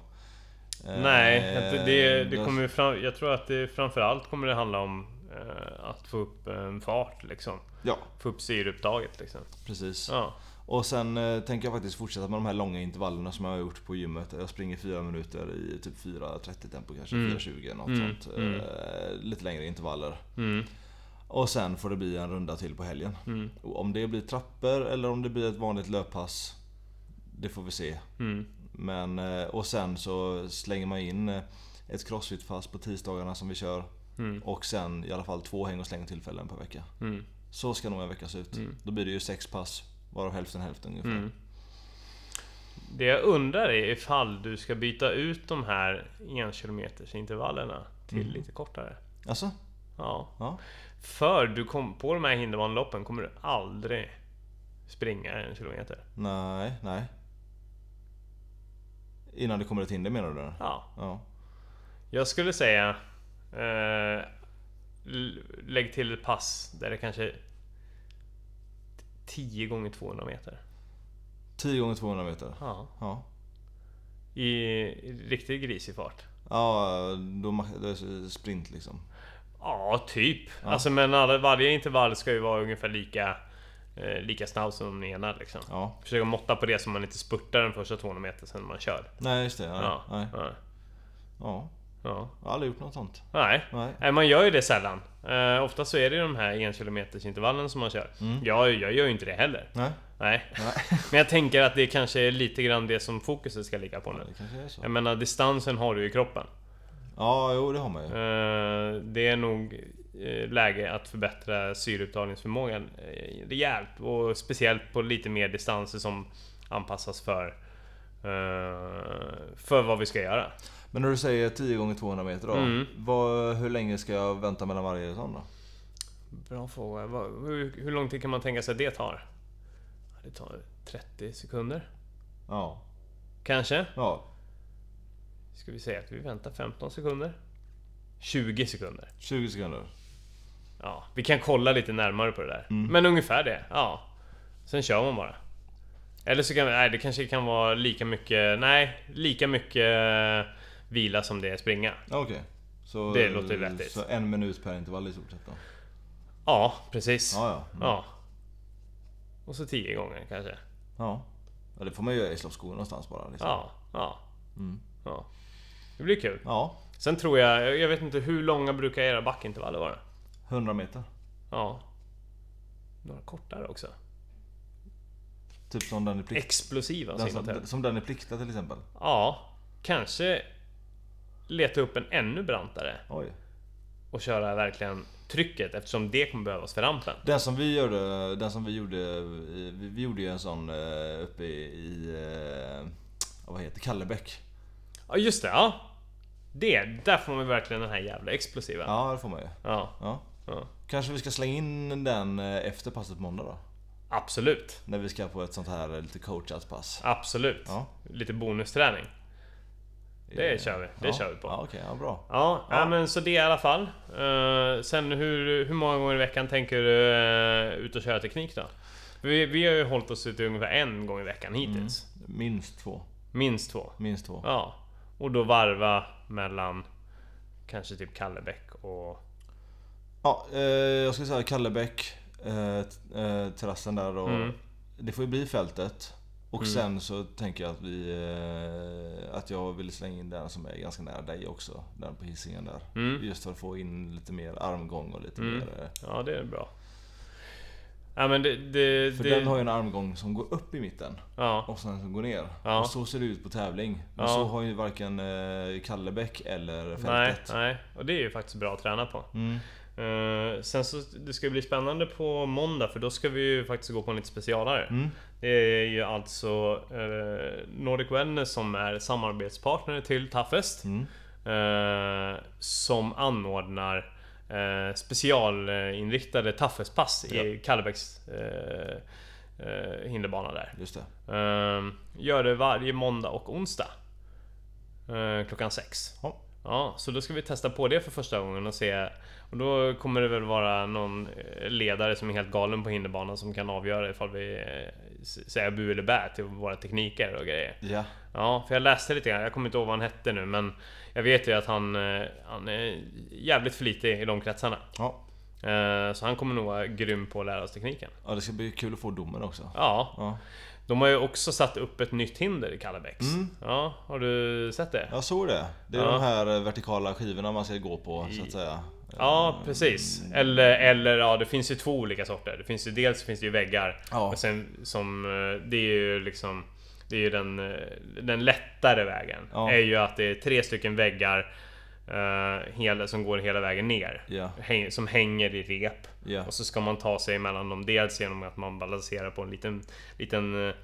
Speaker 1: Eh,
Speaker 2: Nej, att det, det, det
Speaker 1: jag-
Speaker 2: kommer ju fram, jag tror att det framförallt kommer det handla om eh, att få upp en fart liksom.
Speaker 1: Ja,
Speaker 2: Få upp syreupptaget liksom.
Speaker 1: precis.
Speaker 2: Ja.
Speaker 1: Och sen eh, tänker jag faktiskt fortsätta med de här långa intervallerna som jag har gjort på gymmet. Jag springer 4 minuter i typ 4.30 tempo kanske, 4.20 något
Speaker 2: Mm,
Speaker 1: sånt.
Speaker 2: mm.
Speaker 1: Eh, Lite längre intervaller.
Speaker 2: Mm.
Speaker 1: Och sen får det bli en runda till på helgen.
Speaker 2: Mm.
Speaker 1: Och om det blir trappor eller om det blir ett vanligt löppass. Det får vi se.
Speaker 2: Mm.
Speaker 1: Men, eh, och sen så slänger man in eh, ett crossfit-pass på tisdagarna som vi kör.
Speaker 2: Mm.
Speaker 1: Och sen i alla fall två häng och slängtillfällen per vecka.
Speaker 2: Mm.
Speaker 1: Så ska nog en vecka se ut. Då blir det ju sex pass, varav hälften hälften ungefär.
Speaker 2: Mm. Det jag undrar är ifall du ska byta ut de här enkilometersintervallerna till lite kortare.
Speaker 1: Alltså?
Speaker 2: Ja.
Speaker 1: Ja.
Speaker 2: För du kom, på de här hinderbaneloppen kommer du aldrig springa en kilometer.
Speaker 1: Nej, nej. Innan det kommer ett hinder menar du? eller?
Speaker 2: Ja.
Speaker 1: Ja.
Speaker 2: Jag skulle säga... Eh, l- lägg till ett pass där det kanske... är 10 gånger 200 meter.
Speaker 1: 10 gånger 200 meter?
Speaker 2: Ja.
Speaker 1: Ja.
Speaker 2: I, i riktigt grisig fart.
Speaker 1: Ja, då, ma- då är det sprint liksom.
Speaker 2: Ja, typ. Alltså men alla, varje intervall ska ju vara ungefär lika... Eh, lika snabb som den ena liksom.
Speaker 1: Ja.
Speaker 2: Försöka måtta på det så man inte spurtar den första 200 meter sen man kör.
Speaker 1: Nej, just det. Nej.
Speaker 2: Ja.
Speaker 1: Nej.
Speaker 2: Ja.
Speaker 1: ja.
Speaker 2: ja.
Speaker 1: Jag har aldrig gjort något sånt.
Speaker 2: Nej.
Speaker 1: Nej.
Speaker 2: Nej, man gör ju det sällan. Eh, ofta så är det ju de här enkilometersintervallen som man kör.
Speaker 1: Mm.
Speaker 2: Jag, jag gör ju inte det heller.
Speaker 1: Nej.
Speaker 2: Nej.
Speaker 1: Nej.
Speaker 2: Men jag tänker att det kanske är lite grann det som fokuset ska ligga på nu.
Speaker 1: Det kanske är så.
Speaker 2: Jag menar distansen har du i kroppen.
Speaker 1: Ja, jo det har man ju.
Speaker 2: Eh, Det är nog eh, läge att förbättra syreupptagningsförmågan eh, rejält. Och speciellt på lite mer distanser som anpassas för, eh, för vad vi ska göra.
Speaker 1: Men när du säger 10 gånger 200 meter då.
Speaker 2: Mm.
Speaker 1: Vad, hur länge ska jag vänta mellan varje sån då?
Speaker 2: Bra fråga. Vad- Hur, hur lång tid kan man tänka sig att det tar? Ja, Det tar 30 sekunder.
Speaker 1: Ja.
Speaker 2: Kanske.
Speaker 1: Ja.
Speaker 2: Ska vi säga att vi väntar 15 sekunder? 20 sekunder.
Speaker 1: 20 sekunder.
Speaker 2: Ja, vi kan kolla lite närmare på det där. Men ungefär det, ja. Sen kör man bara. Eller så kan nej, det kanske kan vara lika mycket, nej, lika mycket eh, vila som det är springa.
Speaker 1: Ja, Okej. Så,
Speaker 2: Det låter vettigt.
Speaker 1: Så en minut per intervall i stort sett då.
Speaker 2: Ja, precis. Ja.
Speaker 1: Ja, ja.
Speaker 2: Och så 10 gånger kanske.
Speaker 1: Ja. ja det får man ju göra i slopskor någonstans bara. Liksom.
Speaker 2: Ja, ja. ja. Det blir kul.
Speaker 1: Ja.
Speaker 2: Sen tror jag, jag vet inte hur långa brukar era backintervaller vara?
Speaker 1: 100 meter.
Speaker 2: Ja. Några kortare också.
Speaker 1: Typ som den i plikt.
Speaker 2: Explosiva
Speaker 1: Den
Speaker 2: simmar
Speaker 1: som, som den i plikta till exempel.
Speaker 2: Ja, kanske leta upp en ännu brantare
Speaker 1: Oj.
Speaker 2: och köra verkligen trycket eftersom det kommer behövas för rampen.
Speaker 1: Den som vi gjorde, den som vi gjorde, i- vi vi gjorde ju en sån eh, uppe i, i eh, vad heter det? Kallebäck.
Speaker 2: Ja, just det. Ja. Det, där får man verkligen den här jävla explosiva. Ja.
Speaker 1: Ja, det får man ju.
Speaker 2: Ja,
Speaker 1: Ja. Kanske vi ska slänga in den eh, efter passet på måndag då?
Speaker 2: Absolut.
Speaker 1: När vi ska på ett sånt här eh, lite coachat pass.
Speaker 2: Absolut.
Speaker 1: Ja.
Speaker 2: Lite bonusträning. Det
Speaker 1: Eh,
Speaker 2: kör vi. Det
Speaker 1: ja.
Speaker 2: kör vi på.
Speaker 1: Ja,
Speaker 2: Ja.
Speaker 1: okej. Ja, bra.
Speaker 2: Ja, men så det i alla fall. Eh, sen hur, hur många gånger i veckan tänker du eh, ut och köra teknik då? Vi, vi har ju hållit oss till ungefär en gång i veckan hittills.
Speaker 1: Minst två.
Speaker 2: Minst två.
Speaker 1: Minst två.
Speaker 2: Ja, och då varva mellan kanske typ Kallebäck och...
Speaker 1: Ja, eh, jag skulle
Speaker 2: Mm.
Speaker 1: säga Kallebäck, eh, t- eh, terrassen där och... Det får ju bli fältet. Och sen så tänker jag att vi... eh, Att jag vill slänga in den som är ganska nära dig också. Den på Hisingen där.
Speaker 2: Mm.
Speaker 1: Just för att få in lite mer armgång och lite
Speaker 2: Mm.
Speaker 1: mer... eh,
Speaker 2: Ja, det är bra. Ja, men det... det,
Speaker 1: För
Speaker 2: det
Speaker 1: den har ju en armgång som går upp i mitten.
Speaker 2: ja.
Speaker 1: Och sen som går ner.
Speaker 2: Ja.
Speaker 1: Och så ser det ut på tävling. Men
Speaker 2: Ja.
Speaker 1: så har ju varken eh, Kallebäck eller
Speaker 2: Nej,
Speaker 1: fältet.
Speaker 2: nej. Och det är ju faktiskt bra att träna på.
Speaker 1: Mm.
Speaker 2: Eh, sen så, det ska ju bli spännande på måndag för då ska vi ju faktiskt gå på en lite specialare.
Speaker 1: Mm.
Speaker 2: Det är ju alltså eh, Nordic Wellness som är samarbetspartner till Toughest.
Speaker 1: Mm.
Speaker 2: eh, som anordnar eh, specialinriktade Toughest-pass i Kallebäcks eh, eh, hinderbana där.
Speaker 1: Just det.
Speaker 2: Ehm, gör det varje måndag och onsdag. Ehm, klockan sex.
Speaker 1: Ja.
Speaker 2: Ja, så då ska vi testa på det för första gången och se. Och då kommer det väl vara någon eh, ledare som är helt galen på hinderbanan som kan avgöra ifall vi eh, s- säger bu eller bä till våra tekniker och grejer.
Speaker 1: Ja.
Speaker 2: Ja, för jag läste lite grann. Jag kommer inte ihåg vad han hette nu men jag vet ju att han, eh, han är jävligt flitig i de kretsarna.
Speaker 1: Ja.
Speaker 2: Ehm, så han kommer nog vara grym på att lära oss tekniken.
Speaker 1: ja, det ska bli kul att få domen också.
Speaker 2: Ja,
Speaker 1: Ja.
Speaker 2: de har ju också satt upp ett nytt hinder i Kallebäcks.
Speaker 1: Mm.
Speaker 2: Ja, har du sett det? Ja,
Speaker 1: Jag såg det. Det är
Speaker 2: Ja.
Speaker 1: de här eh, vertikala skivorna man ska gå på så att säga. Eh,
Speaker 2: precis. Eller, eller ja, det finns ju två olika sorter. Det finns ju dels finns det ju väggar
Speaker 1: Ja.
Speaker 2: och sen som eh, det är ju liksom det är ju den, eh, den lättare vägen.
Speaker 1: Ja.
Speaker 2: är ju att det är tre stycken väggar eh, hela, som går hela vägen ner.
Speaker 1: Ja.
Speaker 2: Häng, som hänger i rep.
Speaker 1: Ja.
Speaker 2: Och så ska man ta sig emellan dem dels genom att man balanserar på en liten, liten eh,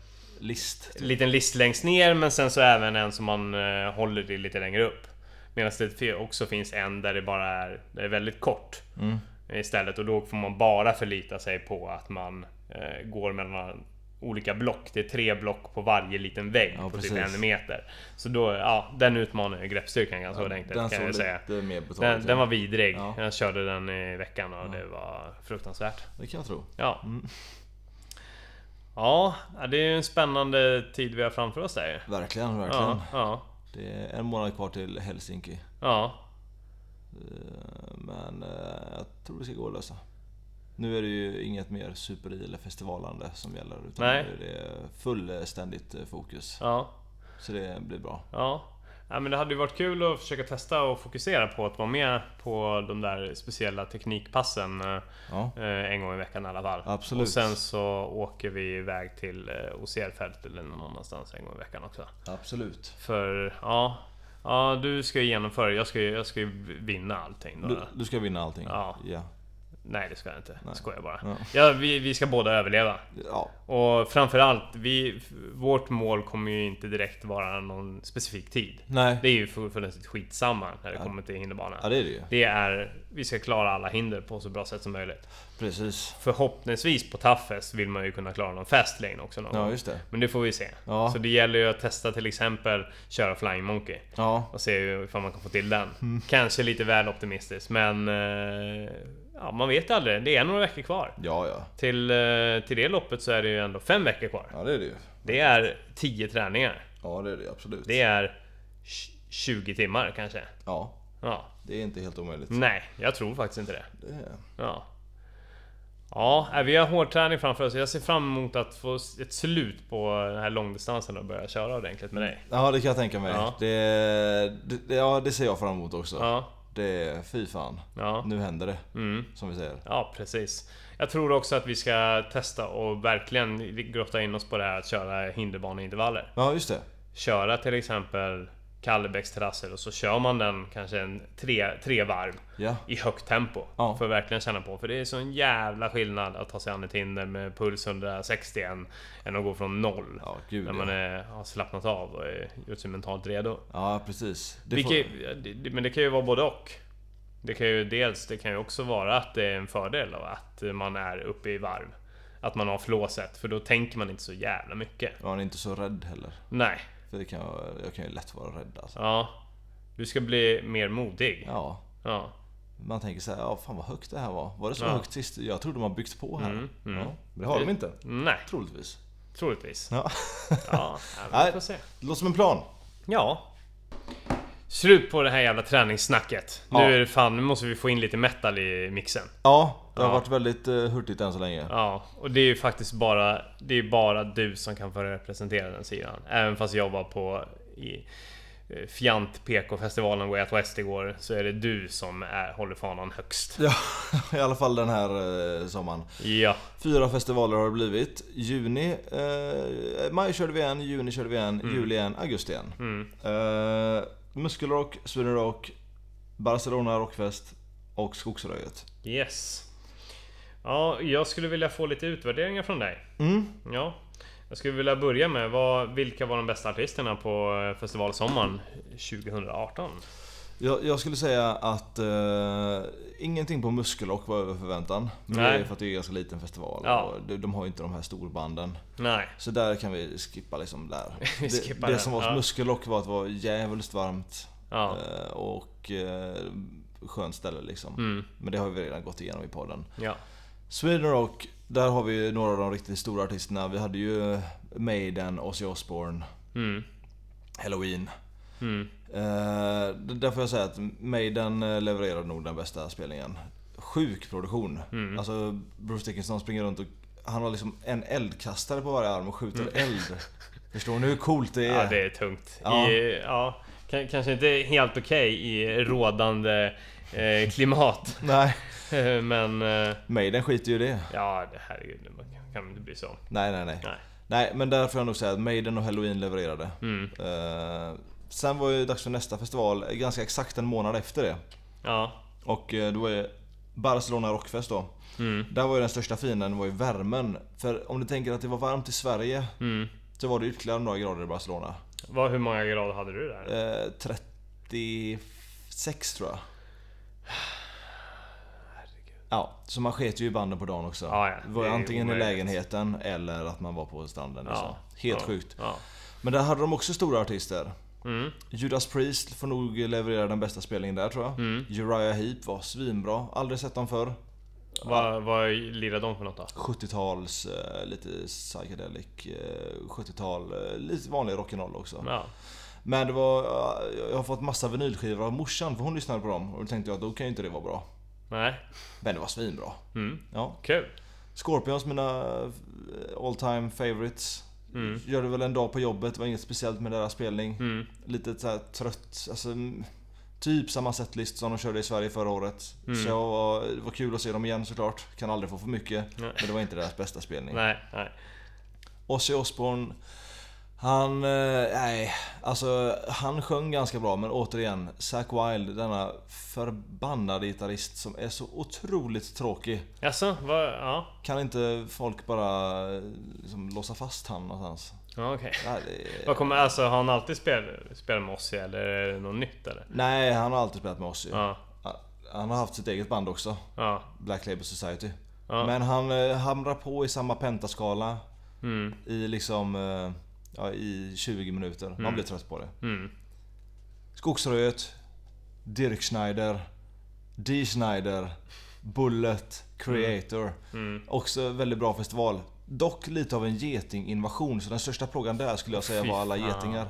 Speaker 1: List.
Speaker 2: liten list längst ner men sen så även en som man eh, håller i lite längre upp. Medan det fi- också finns en där det bara är, där det är väldigt kort
Speaker 1: Mm.
Speaker 2: istället och då får man bara förlita sig på att man eh, går mellan olika block. Det är tre block på varje liten vägg
Speaker 1: Ja,
Speaker 2: på typ
Speaker 1: precis.
Speaker 2: en meter. Så då, ja, den utmanar ju greppstyrkan ganska ordentligt
Speaker 1: Den
Speaker 2: kan
Speaker 1: såg
Speaker 2: jag säga.
Speaker 1: lite mer betalt
Speaker 2: Den,
Speaker 1: ut.
Speaker 2: den var vidrig.
Speaker 1: Ja.
Speaker 2: Jag körde den i veckan och det var fruktansvärt.
Speaker 1: Det kan jag tro.
Speaker 2: Ja.
Speaker 1: Mm.
Speaker 2: Ja, det är ju en spännande tid vi har framför oss där ju.
Speaker 1: Verkligen, verkligen.
Speaker 2: Ja, ja,
Speaker 1: Det är en månad kvar till Helsinki.
Speaker 2: ja.
Speaker 1: Eh, Men eh, jag tror det ska gå att lösa. Nu är det ju inget mer superi eller festivalande som gäller utan
Speaker 2: Nej.
Speaker 1: nu är det fullständigt eh, fokus.
Speaker 2: ja,
Speaker 1: Så det blir bra.
Speaker 2: ja. Ja, men det hade ju varit kul att försöka testa och fokusera på att vara med på de där speciella teknikpassen eh,
Speaker 1: Ja,
Speaker 2: eh, en gång i veckan i alla fall.
Speaker 1: Absolut.
Speaker 2: Och sen så åker vi iväg till eh, Ocelfält eller någon annanstans en gång i veckan också.
Speaker 1: absolut.
Speaker 2: För ja, ja du ska ju genomföra det. jag ska ju, jag ska ju vinna allting. Då.
Speaker 1: Du, du ska vinna allting?
Speaker 2: Ja.
Speaker 1: Ja.
Speaker 2: Nej det ska jag inte, skojar bara.
Speaker 1: Ja.
Speaker 2: Ja. vi, vi ska båda överleva.
Speaker 1: ja.
Speaker 2: Och framförallt, vi, vårt mål kommer ju inte direkt vara någon specifik tid.
Speaker 1: Nej.
Speaker 2: Det är ju fullständigt skitsamma när det kommer till hinderbana.
Speaker 1: Ja det är det ju.
Speaker 2: Det är, vi ska klara alla hinder på så bra sätt som möjligt.
Speaker 1: Precis.
Speaker 2: Förhoppningsvis på Toughest vill man ju kunna klara någon fast lane också någon
Speaker 1: Ja
Speaker 2: gång.
Speaker 1: just det.
Speaker 2: Men det får vi se.
Speaker 1: Ja.
Speaker 2: Så det gäller ju att testa till exempel köra Flying Monkey.
Speaker 1: Ja.
Speaker 2: Och se hur- ifall man kan få till den.
Speaker 1: Mm.
Speaker 2: Kanske lite väl optimistiskt men... eh, Ja, man vet aldrig. Det är några veckor kvar.
Speaker 1: Ja ja.
Speaker 2: Till, eh, till det loppet så är det ju ändå fem veckor kvar.
Speaker 1: Ja det är det ju.
Speaker 2: Det är 10 träningar.
Speaker 1: Ja det är det ju, absolut.
Speaker 2: Det är tj- 20 timmar kanske.
Speaker 1: Ja.
Speaker 2: Ja.
Speaker 1: Det är inte helt omöjligt.
Speaker 2: Nej, jag tror faktiskt inte det.
Speaker 1: Det är...
Speaker 2: Ja. Ja, nej, vi har hård träning framför oss. Jag ser fram emot att få s- ett slut på den här långdistansen och börja köra ordentligt med dig.
Speaker 1: Ja det kan jag tänka mig.
Speaker 2: Ja.
Speaker 1: Det, det, ja, det ser jag fram emot också.
Speaker 2: Ja.
Speaker 1: Det, fy fan.
Speaker 2: Ja.
Speaker 1: Nu händer det.
Speaker 2: Mm.
Speaker 1: Som vi säger.
Speaker 2: Ja, precis. Jag tror också att vi ska testa och verkligen grotta in oss på det här att köra hinderbaneintervaller.
Speaker 1: Ja just det.
Speaker 2: Köra till exempel Kallebäcks terrasser och så kör man den kanske en tre, tre varv
Speaker 1: Ja.
Speaker 2: i högt tempo.
Speaker 1: Ja.
Speaker 2: För att verkligen känna på. För det är sån jävla skillnad att ta sig an ett hinder med puls 161 än att gå från noll.
Speaker 1: Ja gud
Speaker 2: när
Speaker 1: ja.
Speaker 2: man är, har slappnat av och är, gjort sig mentalt redo.
Speaker 1: Ja precis. Det
Speaker 2: Vilket,
Speaker 1: får...
Speaker 2: det- det- Men det kan ju vara både och. Det kan ju dels, det kan ju också vara att det är en fördel av att man är uppe i varv. Att man har flåset, för då tänker man inte så jävla mycket.
Speaker 1: Man är inte så rädd heller.
Speaker 2: Nej.
Speaker 1: För det kan jag, jag kan ju lätt vara rädd alltså.
Speaker 2: Ja. Du ska bli mer modig.
Speaker 1: Ja.
Speaker 2: Ja.
Speaker 1: Man tänker så här, ja fan vad högt det här var. Var det så högt sist? Jag trodde de har byggt på här.
Speaker 2: Mm, mm.
Speaker 1: Ja, men det har de inte.
Speaker 2: Nej,
Speaker 1: Troligtvis.
Speaker 2: troligtvis.
Speaker 1: Ja.
Speaker 2: Ja, ja, vi
Speaker 1: Nej.
Speaker 2: får se.
Speaker 1: Det låter som en plan.
Speaker 2: Ja. Slut på det här jävla träningssnacket.
Speaker 1: Ja.
Speaker 2: Nu är det fan, nu måste vi få in lite metal i mixen.
Speaker 1: Ja, det har
Speaker 2: Ja.
Speaker 1: varit väldigt eh, hurtigt än så länge.
Speaker 2: Ja, och det är ju faktiskt bara, det är bara du som kan få representera den sidan. Även fast jag var på i, eh, Fjant PK-festivalen Way Out West igår så är det du som är, håller fanan högst.
Speaker 1: Ja, i alla fall den här eh, sommaren.
Speaker 2: Ja,
Speaker 1: Fyra festivaler har det blivit. Juni, eh, maj körde vi en, juni körde vi en, juli en, augusti en.
Speaker 2: Mm.
Speaker 1: Eh, Muskelrock, Sweden Rock, Barcelona Rockfest och Skogsröjet.
Speaker 2: yes. Ja, jag skulle vilja få lite utvärderingar från dig.
Speaker 1: Mm.
Speaker 2: Ja. Jag skulle vilja börja med, vad, vilka var de bästa artisterna på eh, festivalsommaren 2018?
Speaker 1: Jag, jag skulle säga att eh, ingenting på Muskelrock var över förväntan. Men det
Speaker 2: Nej.
Speaker 1: är för att det är en ganska liten festival
Speaker 2: Ja.
Speaker 1: och de, de har ju inte de här storbanden.
Speaker 2: Nej.
Speaker 1: Så där kan vi skippa liksom där.
Speaker 2: Vi
Speaker 1: det
Speaker 2: skippar
Speaker 1: det
Speaker 2: den,
Speaker 1: som var
Speaker 2: ja.
Speaker 1: Muskelrock var att det var jävligt varmt
Speaker 2: Ja.
Speaker 1: eh, och eh, skönt ställe liksom.
Speaker 2: Mm.
Speaker 1: Men det har vi redan gått igenom i podden.
Speaker 2: Ja.
Speaker 1: Sweden Rock, där har vi ju några av de riktigt stora artisterna. Vi hade ju Maiden, Ozzy Osbourne,
Speaker 2: Mm.
Speaker 1: Halloween.
Speaker 2: Mm.
Speaker 1: Eh, d- där får jag säga att Maiden eh, levererade nog den bästa spelningen. Sjuk produktion.
Speaker 2: Mm.
Speaker 1: Alltså Bruce Dickinson springer runt och han har liksom en eldkastare på varje arm och skjuter eld. Förstår ni hur coolt det är?
Speaker 2: Mm. Ja, det är tungt.
Speaker 1: Ja.
Speaker 2: I, ja, k- kanske inte helt okej i rådande eh, klimat.
Speaker 1: Nej,
Speaker 2: Eh, Men eh,
Speaker 1: Maiden skiter ju i det.
Speaker 2: ja, det- herregud, man kan- kan inte bli så.
Speaker 1: Nej, nej, nej.
Speaker 2: Nej.
Speaker 1: Nej, men där får jag nog säga att Maiden och Halloween levererade.
Speaker 2: Mm.
Speaker 1: Eh, sen var ju dags för nästa festival, eh, ganska exakt en månad efter det.
Speaker 2: Ja.
Speaker 1: Och eh, det var ju Barcelona Rockfest då.
Speaker 2: Mm.
Speaker 1: Där var ju den största fienden var ju värmen. För om du tänker att det var varmt i Sverige
Speaker 2: Mm.
Speaker 1: så var det ytterligare några grader i Barcelona.
Speaker 2: Vad, hur många grader hade du där?
Speaker 1: Eh, 36 tror jag. Ja, så man sket ju i banden på dagen också.
Speaker 2: Ja, ja.
Speaker 1: det var ju
Speaker 2: Det är ju
Speaker 1: antingen i
Speaker 2: omöjligt.
Speaker 1: lägenheten eller att man var på stranden.
Speaker 2: Ja.
Speaker 1: Liksom. Helt
Speaker 2: ja.
Speaker 1: sjukt.
Speaker 2: Ja.
Speaker 1: Men där hade de också stora artister.
Speaker 2: Mm.
Speaker 1: Judas Priest får nog leverera den bästa spelningen där tror jag.
Speaker 2: Mm.
Speaker 1: Uriah Heep var svinbra. Aldrig sett dem förr.
Speaker 2: Vad, vad lirade de för något då?
Speaker 1: 70-tals, eh, lite psychedelic, eh, 70-tal, eh, lite vanlig rock'n'roll också.
Speaker 2: Ja.
Speaker 1: Men det var, eh, jag har fått massa vinylskivor av morsan för hon lyssnade på dem och då tänkte jag att då kan ju inte det vara bra.
Speaker 2: Nej.
Speaker 1: Men det var svinbra.
Speaker 2: Mm.
Speaker 1: Ja.
Speaker 2: Kul.
Speaker 1: Scorpions, mina eh, all time favorites.
Speaker 2: Mm.
Speaker 1: Gjorde väl en dag på jobbet, det var inget speciellt med deras spelning.
Speaker 2: Mm.
Speaker 1: Lite så här trött, alltså mm, typ samma setlist som de körde i Sverige förra året.
Speaker 2: Mm.
Speaker 1: Så jag var, det var kul att se dem igen såklart. Kan aldrig få för mycket.
Speaker 2: Nej.
Speaker 1: Men det var inte deras bästa spelning.
Speaker 2: Nej, nej.
Speaker 1: Ozzy Osbourne han, eh, nej, alltså han sjöng ganska bra men återigen Zack Wilde, denna förbannade gitarrist som är så otroligt tråkig.
Speaker 2: Jaså, vad, ja.
Speaker 1: Kan inte folk bara eh, liksom, låsa fast han någonstans?
Speaker 2: Ja, okej.
Speaker 1: Nej, det,
Speaker 2: Vad kommer, alltså har han alltid spel, spelat med oss eller är det något nytt eller?
Speaker 1: nej, han har alltid spelat med Ozzy.
Speaker 2: Ja.
Speaker 1: Han har haft sitt eget band också,
Speaker 2: Ja.
Speaker 1: Black Label Society.
Speaker 2: Ja.
Speaker 1: Men han eh, hamrar på i samma pentaskala
Speaker 2: Mm.
Speaker 1: i liksom, eh, ja, i 20 minuter. Man blir trött på det.
Speaker 2: Mm.
Speaker 1: Skogsröet, Dirk Schneider, D Schneider, Bullet, Creator.
Speaker 2: Mm.
Speaker 1: Också väldigt bra festival. Dock lite av en getinginvasion, så den största plågan där skulle jag säga
Speaker 2: Fy
Speaker 1: var alla
Speaker 2: fan.
Speaker 1: getingar.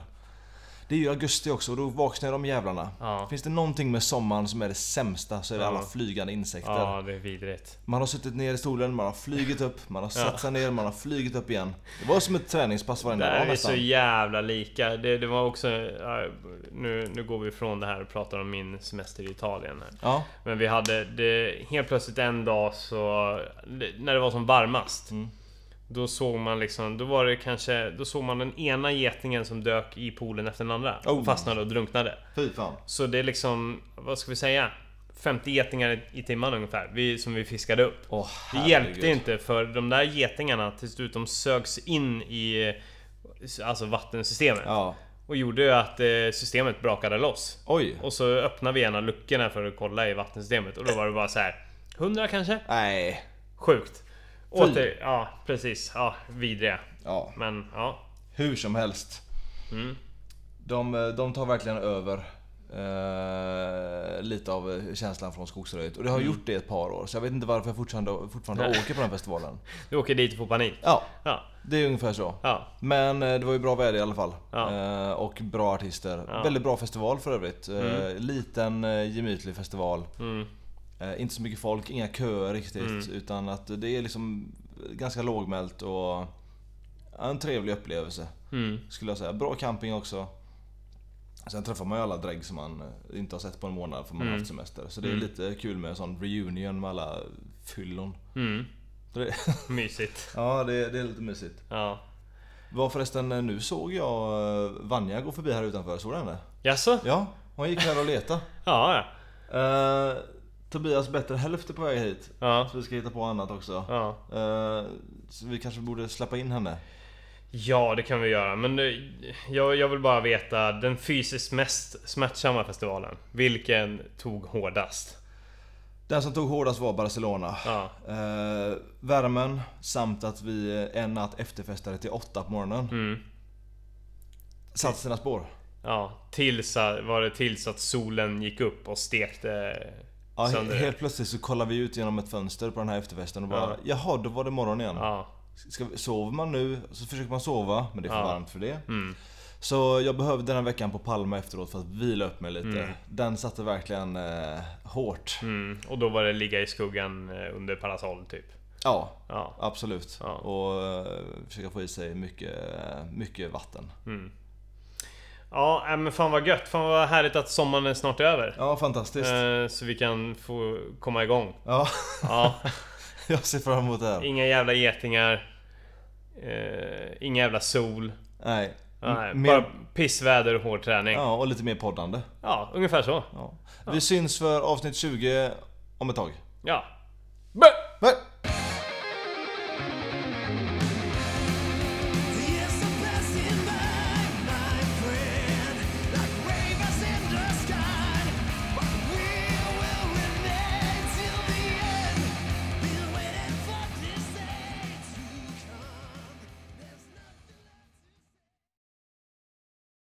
Speaker 1: Det är ju augusti också och då vaknar de jävlarna.
Speaker 2: Ja.
Speaker 1: Finns det någonting med sommaren som är det sämsta så är det
Speaker 2: Ja.
Speaker 1: alla flygande insekter.
Speaker 2: Ja, det är vidrigt.
Speaker 1: Man har suttit ner i stolen, man har flugit upp, man har satt sig ner, man har flugit upp igen. Det var som ett träningspass
Speaker 2: Det
Speaker 1: varenda
Speaker 2: här
Speaker 1: dag
Speaker 2: är så
Speaker 1: nästan.
Speaker 2: jävla lika. Det, det var också... ja, Nu, nu går vi ifrån det här och pratar om min semester i Italien. Här.
Speaker 1: Ja,
Speaker 2: Men vi hade det, helt plötsligt en dag så... det- När det var som varmast.
Speaker 1: Mm.
Speaker 2: Då såg man liksom, då var det kanske, då såg man den ena getingen som dök i poolen efter den andra.
Speaker 1: Oh.
Speaker 2: Och fastnade och drunknade.
Speaker 1: fy fan.
Speaker 2: Så det är liksom, vad ska vi säga? 50 getingar i- i timmen ungefär, vi, som vi fiskade upp.
Speaker 1: Åh,
Speaker 2: Det hjälpte
Speaker 1: herregud.
Speaker 2: inte för de där getingarna till slut de sögs in i eh, alltså vattensystemet.
Speaker 1: Ja.
Speaker 2: Och gjorde ju att eh, systemet brakade loss.
Speaker 1: Oj.
Speaker 2: Och så öppnade vi ena luckorna för att kolla i vattensystemet och då var det bara så här 100 kanske?
Speaker 1: Nej.
Speaker 2: Sjukt. Åter, ja precis, ja vidriga.
Speaker 1: Ja,
Speaker 2: Men ja, Mm.
Speaker 1: hur som helst. De, de tar eh, verkligen över eh, lite av känslan från skogsröjet. Och det
Speaker 2: Mm.
Speaker 1: har gjort det i ett par år. Så jag vet inte varför jag fortfarande, fortfarande åker på den festivalen.
Speaker 2: Du åker dit och får panik.
Speaker 1: Ja,
Speaker 2: Ja,
Speaker 1: det är ungefär så.
Speaker 2: ja.
Speaker 1: Men eh, det var ju bra väder i alla fall.
Speaker 2: Ja.
Speaker 1: Eh, Och bra artister.
Speaker 2: Ja.
Speaker 1: Väldigt bra festival för övrigt. Eh, Liten, eh, gemytlig festival.
Speaker 2: Mm.
Speaker 1: Eh, Inte så mycket folk, inga köer riktigt. Utan att det är liksom ganska lågmält och en trevlig upplevelse.
Speaker 2: Mm.
Speaker 1: Skulle jag säga. Bra camping också. Sen träffar man ju alla drägg som man eh, inte har sett på en månad för man
Speaker 2: Mm.
Speaker 1: har haft semester. Så det är lite kul med en sån reunion med alla fyllon.
Speaker 2: Mm.
Speaker 1: Så det-
Speaker 2: Mysigt.
Speaker 1: Ja, det, det är lite mysigt.
Speaker 2: Ja.
Speaker 1: Var förresten, eh, nu såg jag eh, Vanja gå förbi här utanför, såg du henne?
Speaker 2: Jaså?
Speaker 1: Ja, hon gick här och letade.
Speaker 2: Ja, ja.
Speaker 1: Eh, Tobias bättre hälft är på väg hit.
Speaker 2: Ja.
Speaker 1: Så vi ska hitta på annat också.
Speaker 2: ja.
Speaker 1: Eh, så vi kanske borde släppa in henne.
Speaker 2: Ja, det kan vi göra. Men eh, jag, jag vill bara veta den fysiskt mest smärtsamma festivalen. Vilken tog hårdast?
Speaker 1: Den som tog hårdast var Barcelona.
Speaker 2: Ja.
Speaker 1: Eh, värmen samt att vi eh, en natt efterfestade till åtta på morgonen.
Speaker 2: Mm.
Speaker 1: Satt sina spår.
Speaker 2: Ja, tills, att- var det tills att solen gick upp och stekte
Speaker 1: Ja, he-
Speaker 2: sönder det.
Speaker 1: helt plötsligt så kollar vi ut genom ett fönster på den här efterfesten och bara
Speaker 2: Ja.
Speaker 1: Jaha, då var det morgon igen.
Speaker 2: Ja.
Speaker 1: Ska vi, sover man nu så försöker man sova, men det är för
Speaker 2: Ja.
Speaker 1: varmt för det.
Speaker 2: Mm.
Speaker 1: Så jag behövde den här veckan på Palma efteråt för att vila upp mig lite. Den satte verkligen eh, hårt.
Speaker 2: Mm. Och då var det ligga i skuggan eh, under parasoll typ.
Speaker 1: Ja,
Speaker 2: Ja.
Speaker 1: absolut.
Speaker 2: Ja.
Speaker 1: Och eh, försöka få i sig mycket, eh, mycket vatten.
Speaker 2: Ja, äh, men fan vad gött. Fan vad härligt att sommaren är snart över.
Speaker 1: Ja, fantastiskt.
Speaker 2: Eh, Så vi kan få komma igång.
Speaker 1: Ja,
Speaker 2: Ja.
Speaker 1: jag ser fram emot det här.
Speaker 2: Inga jävla getingar. Eh, Ingen jävla sol.
Speaker 1: Nej.
Speaker 2: Nej,
Speaker 1: M-
Speaker 2: bara pissväder och hård träning. Ja,
Speaker 1: ja, och lite mer poddande.
Speaker 2: ungefär så.
Speaker 1: Ja. Vi syns för avsnitt 20 om ett tag.
Speaker 2: Ja. Bäh!
Speaker 1: Nej.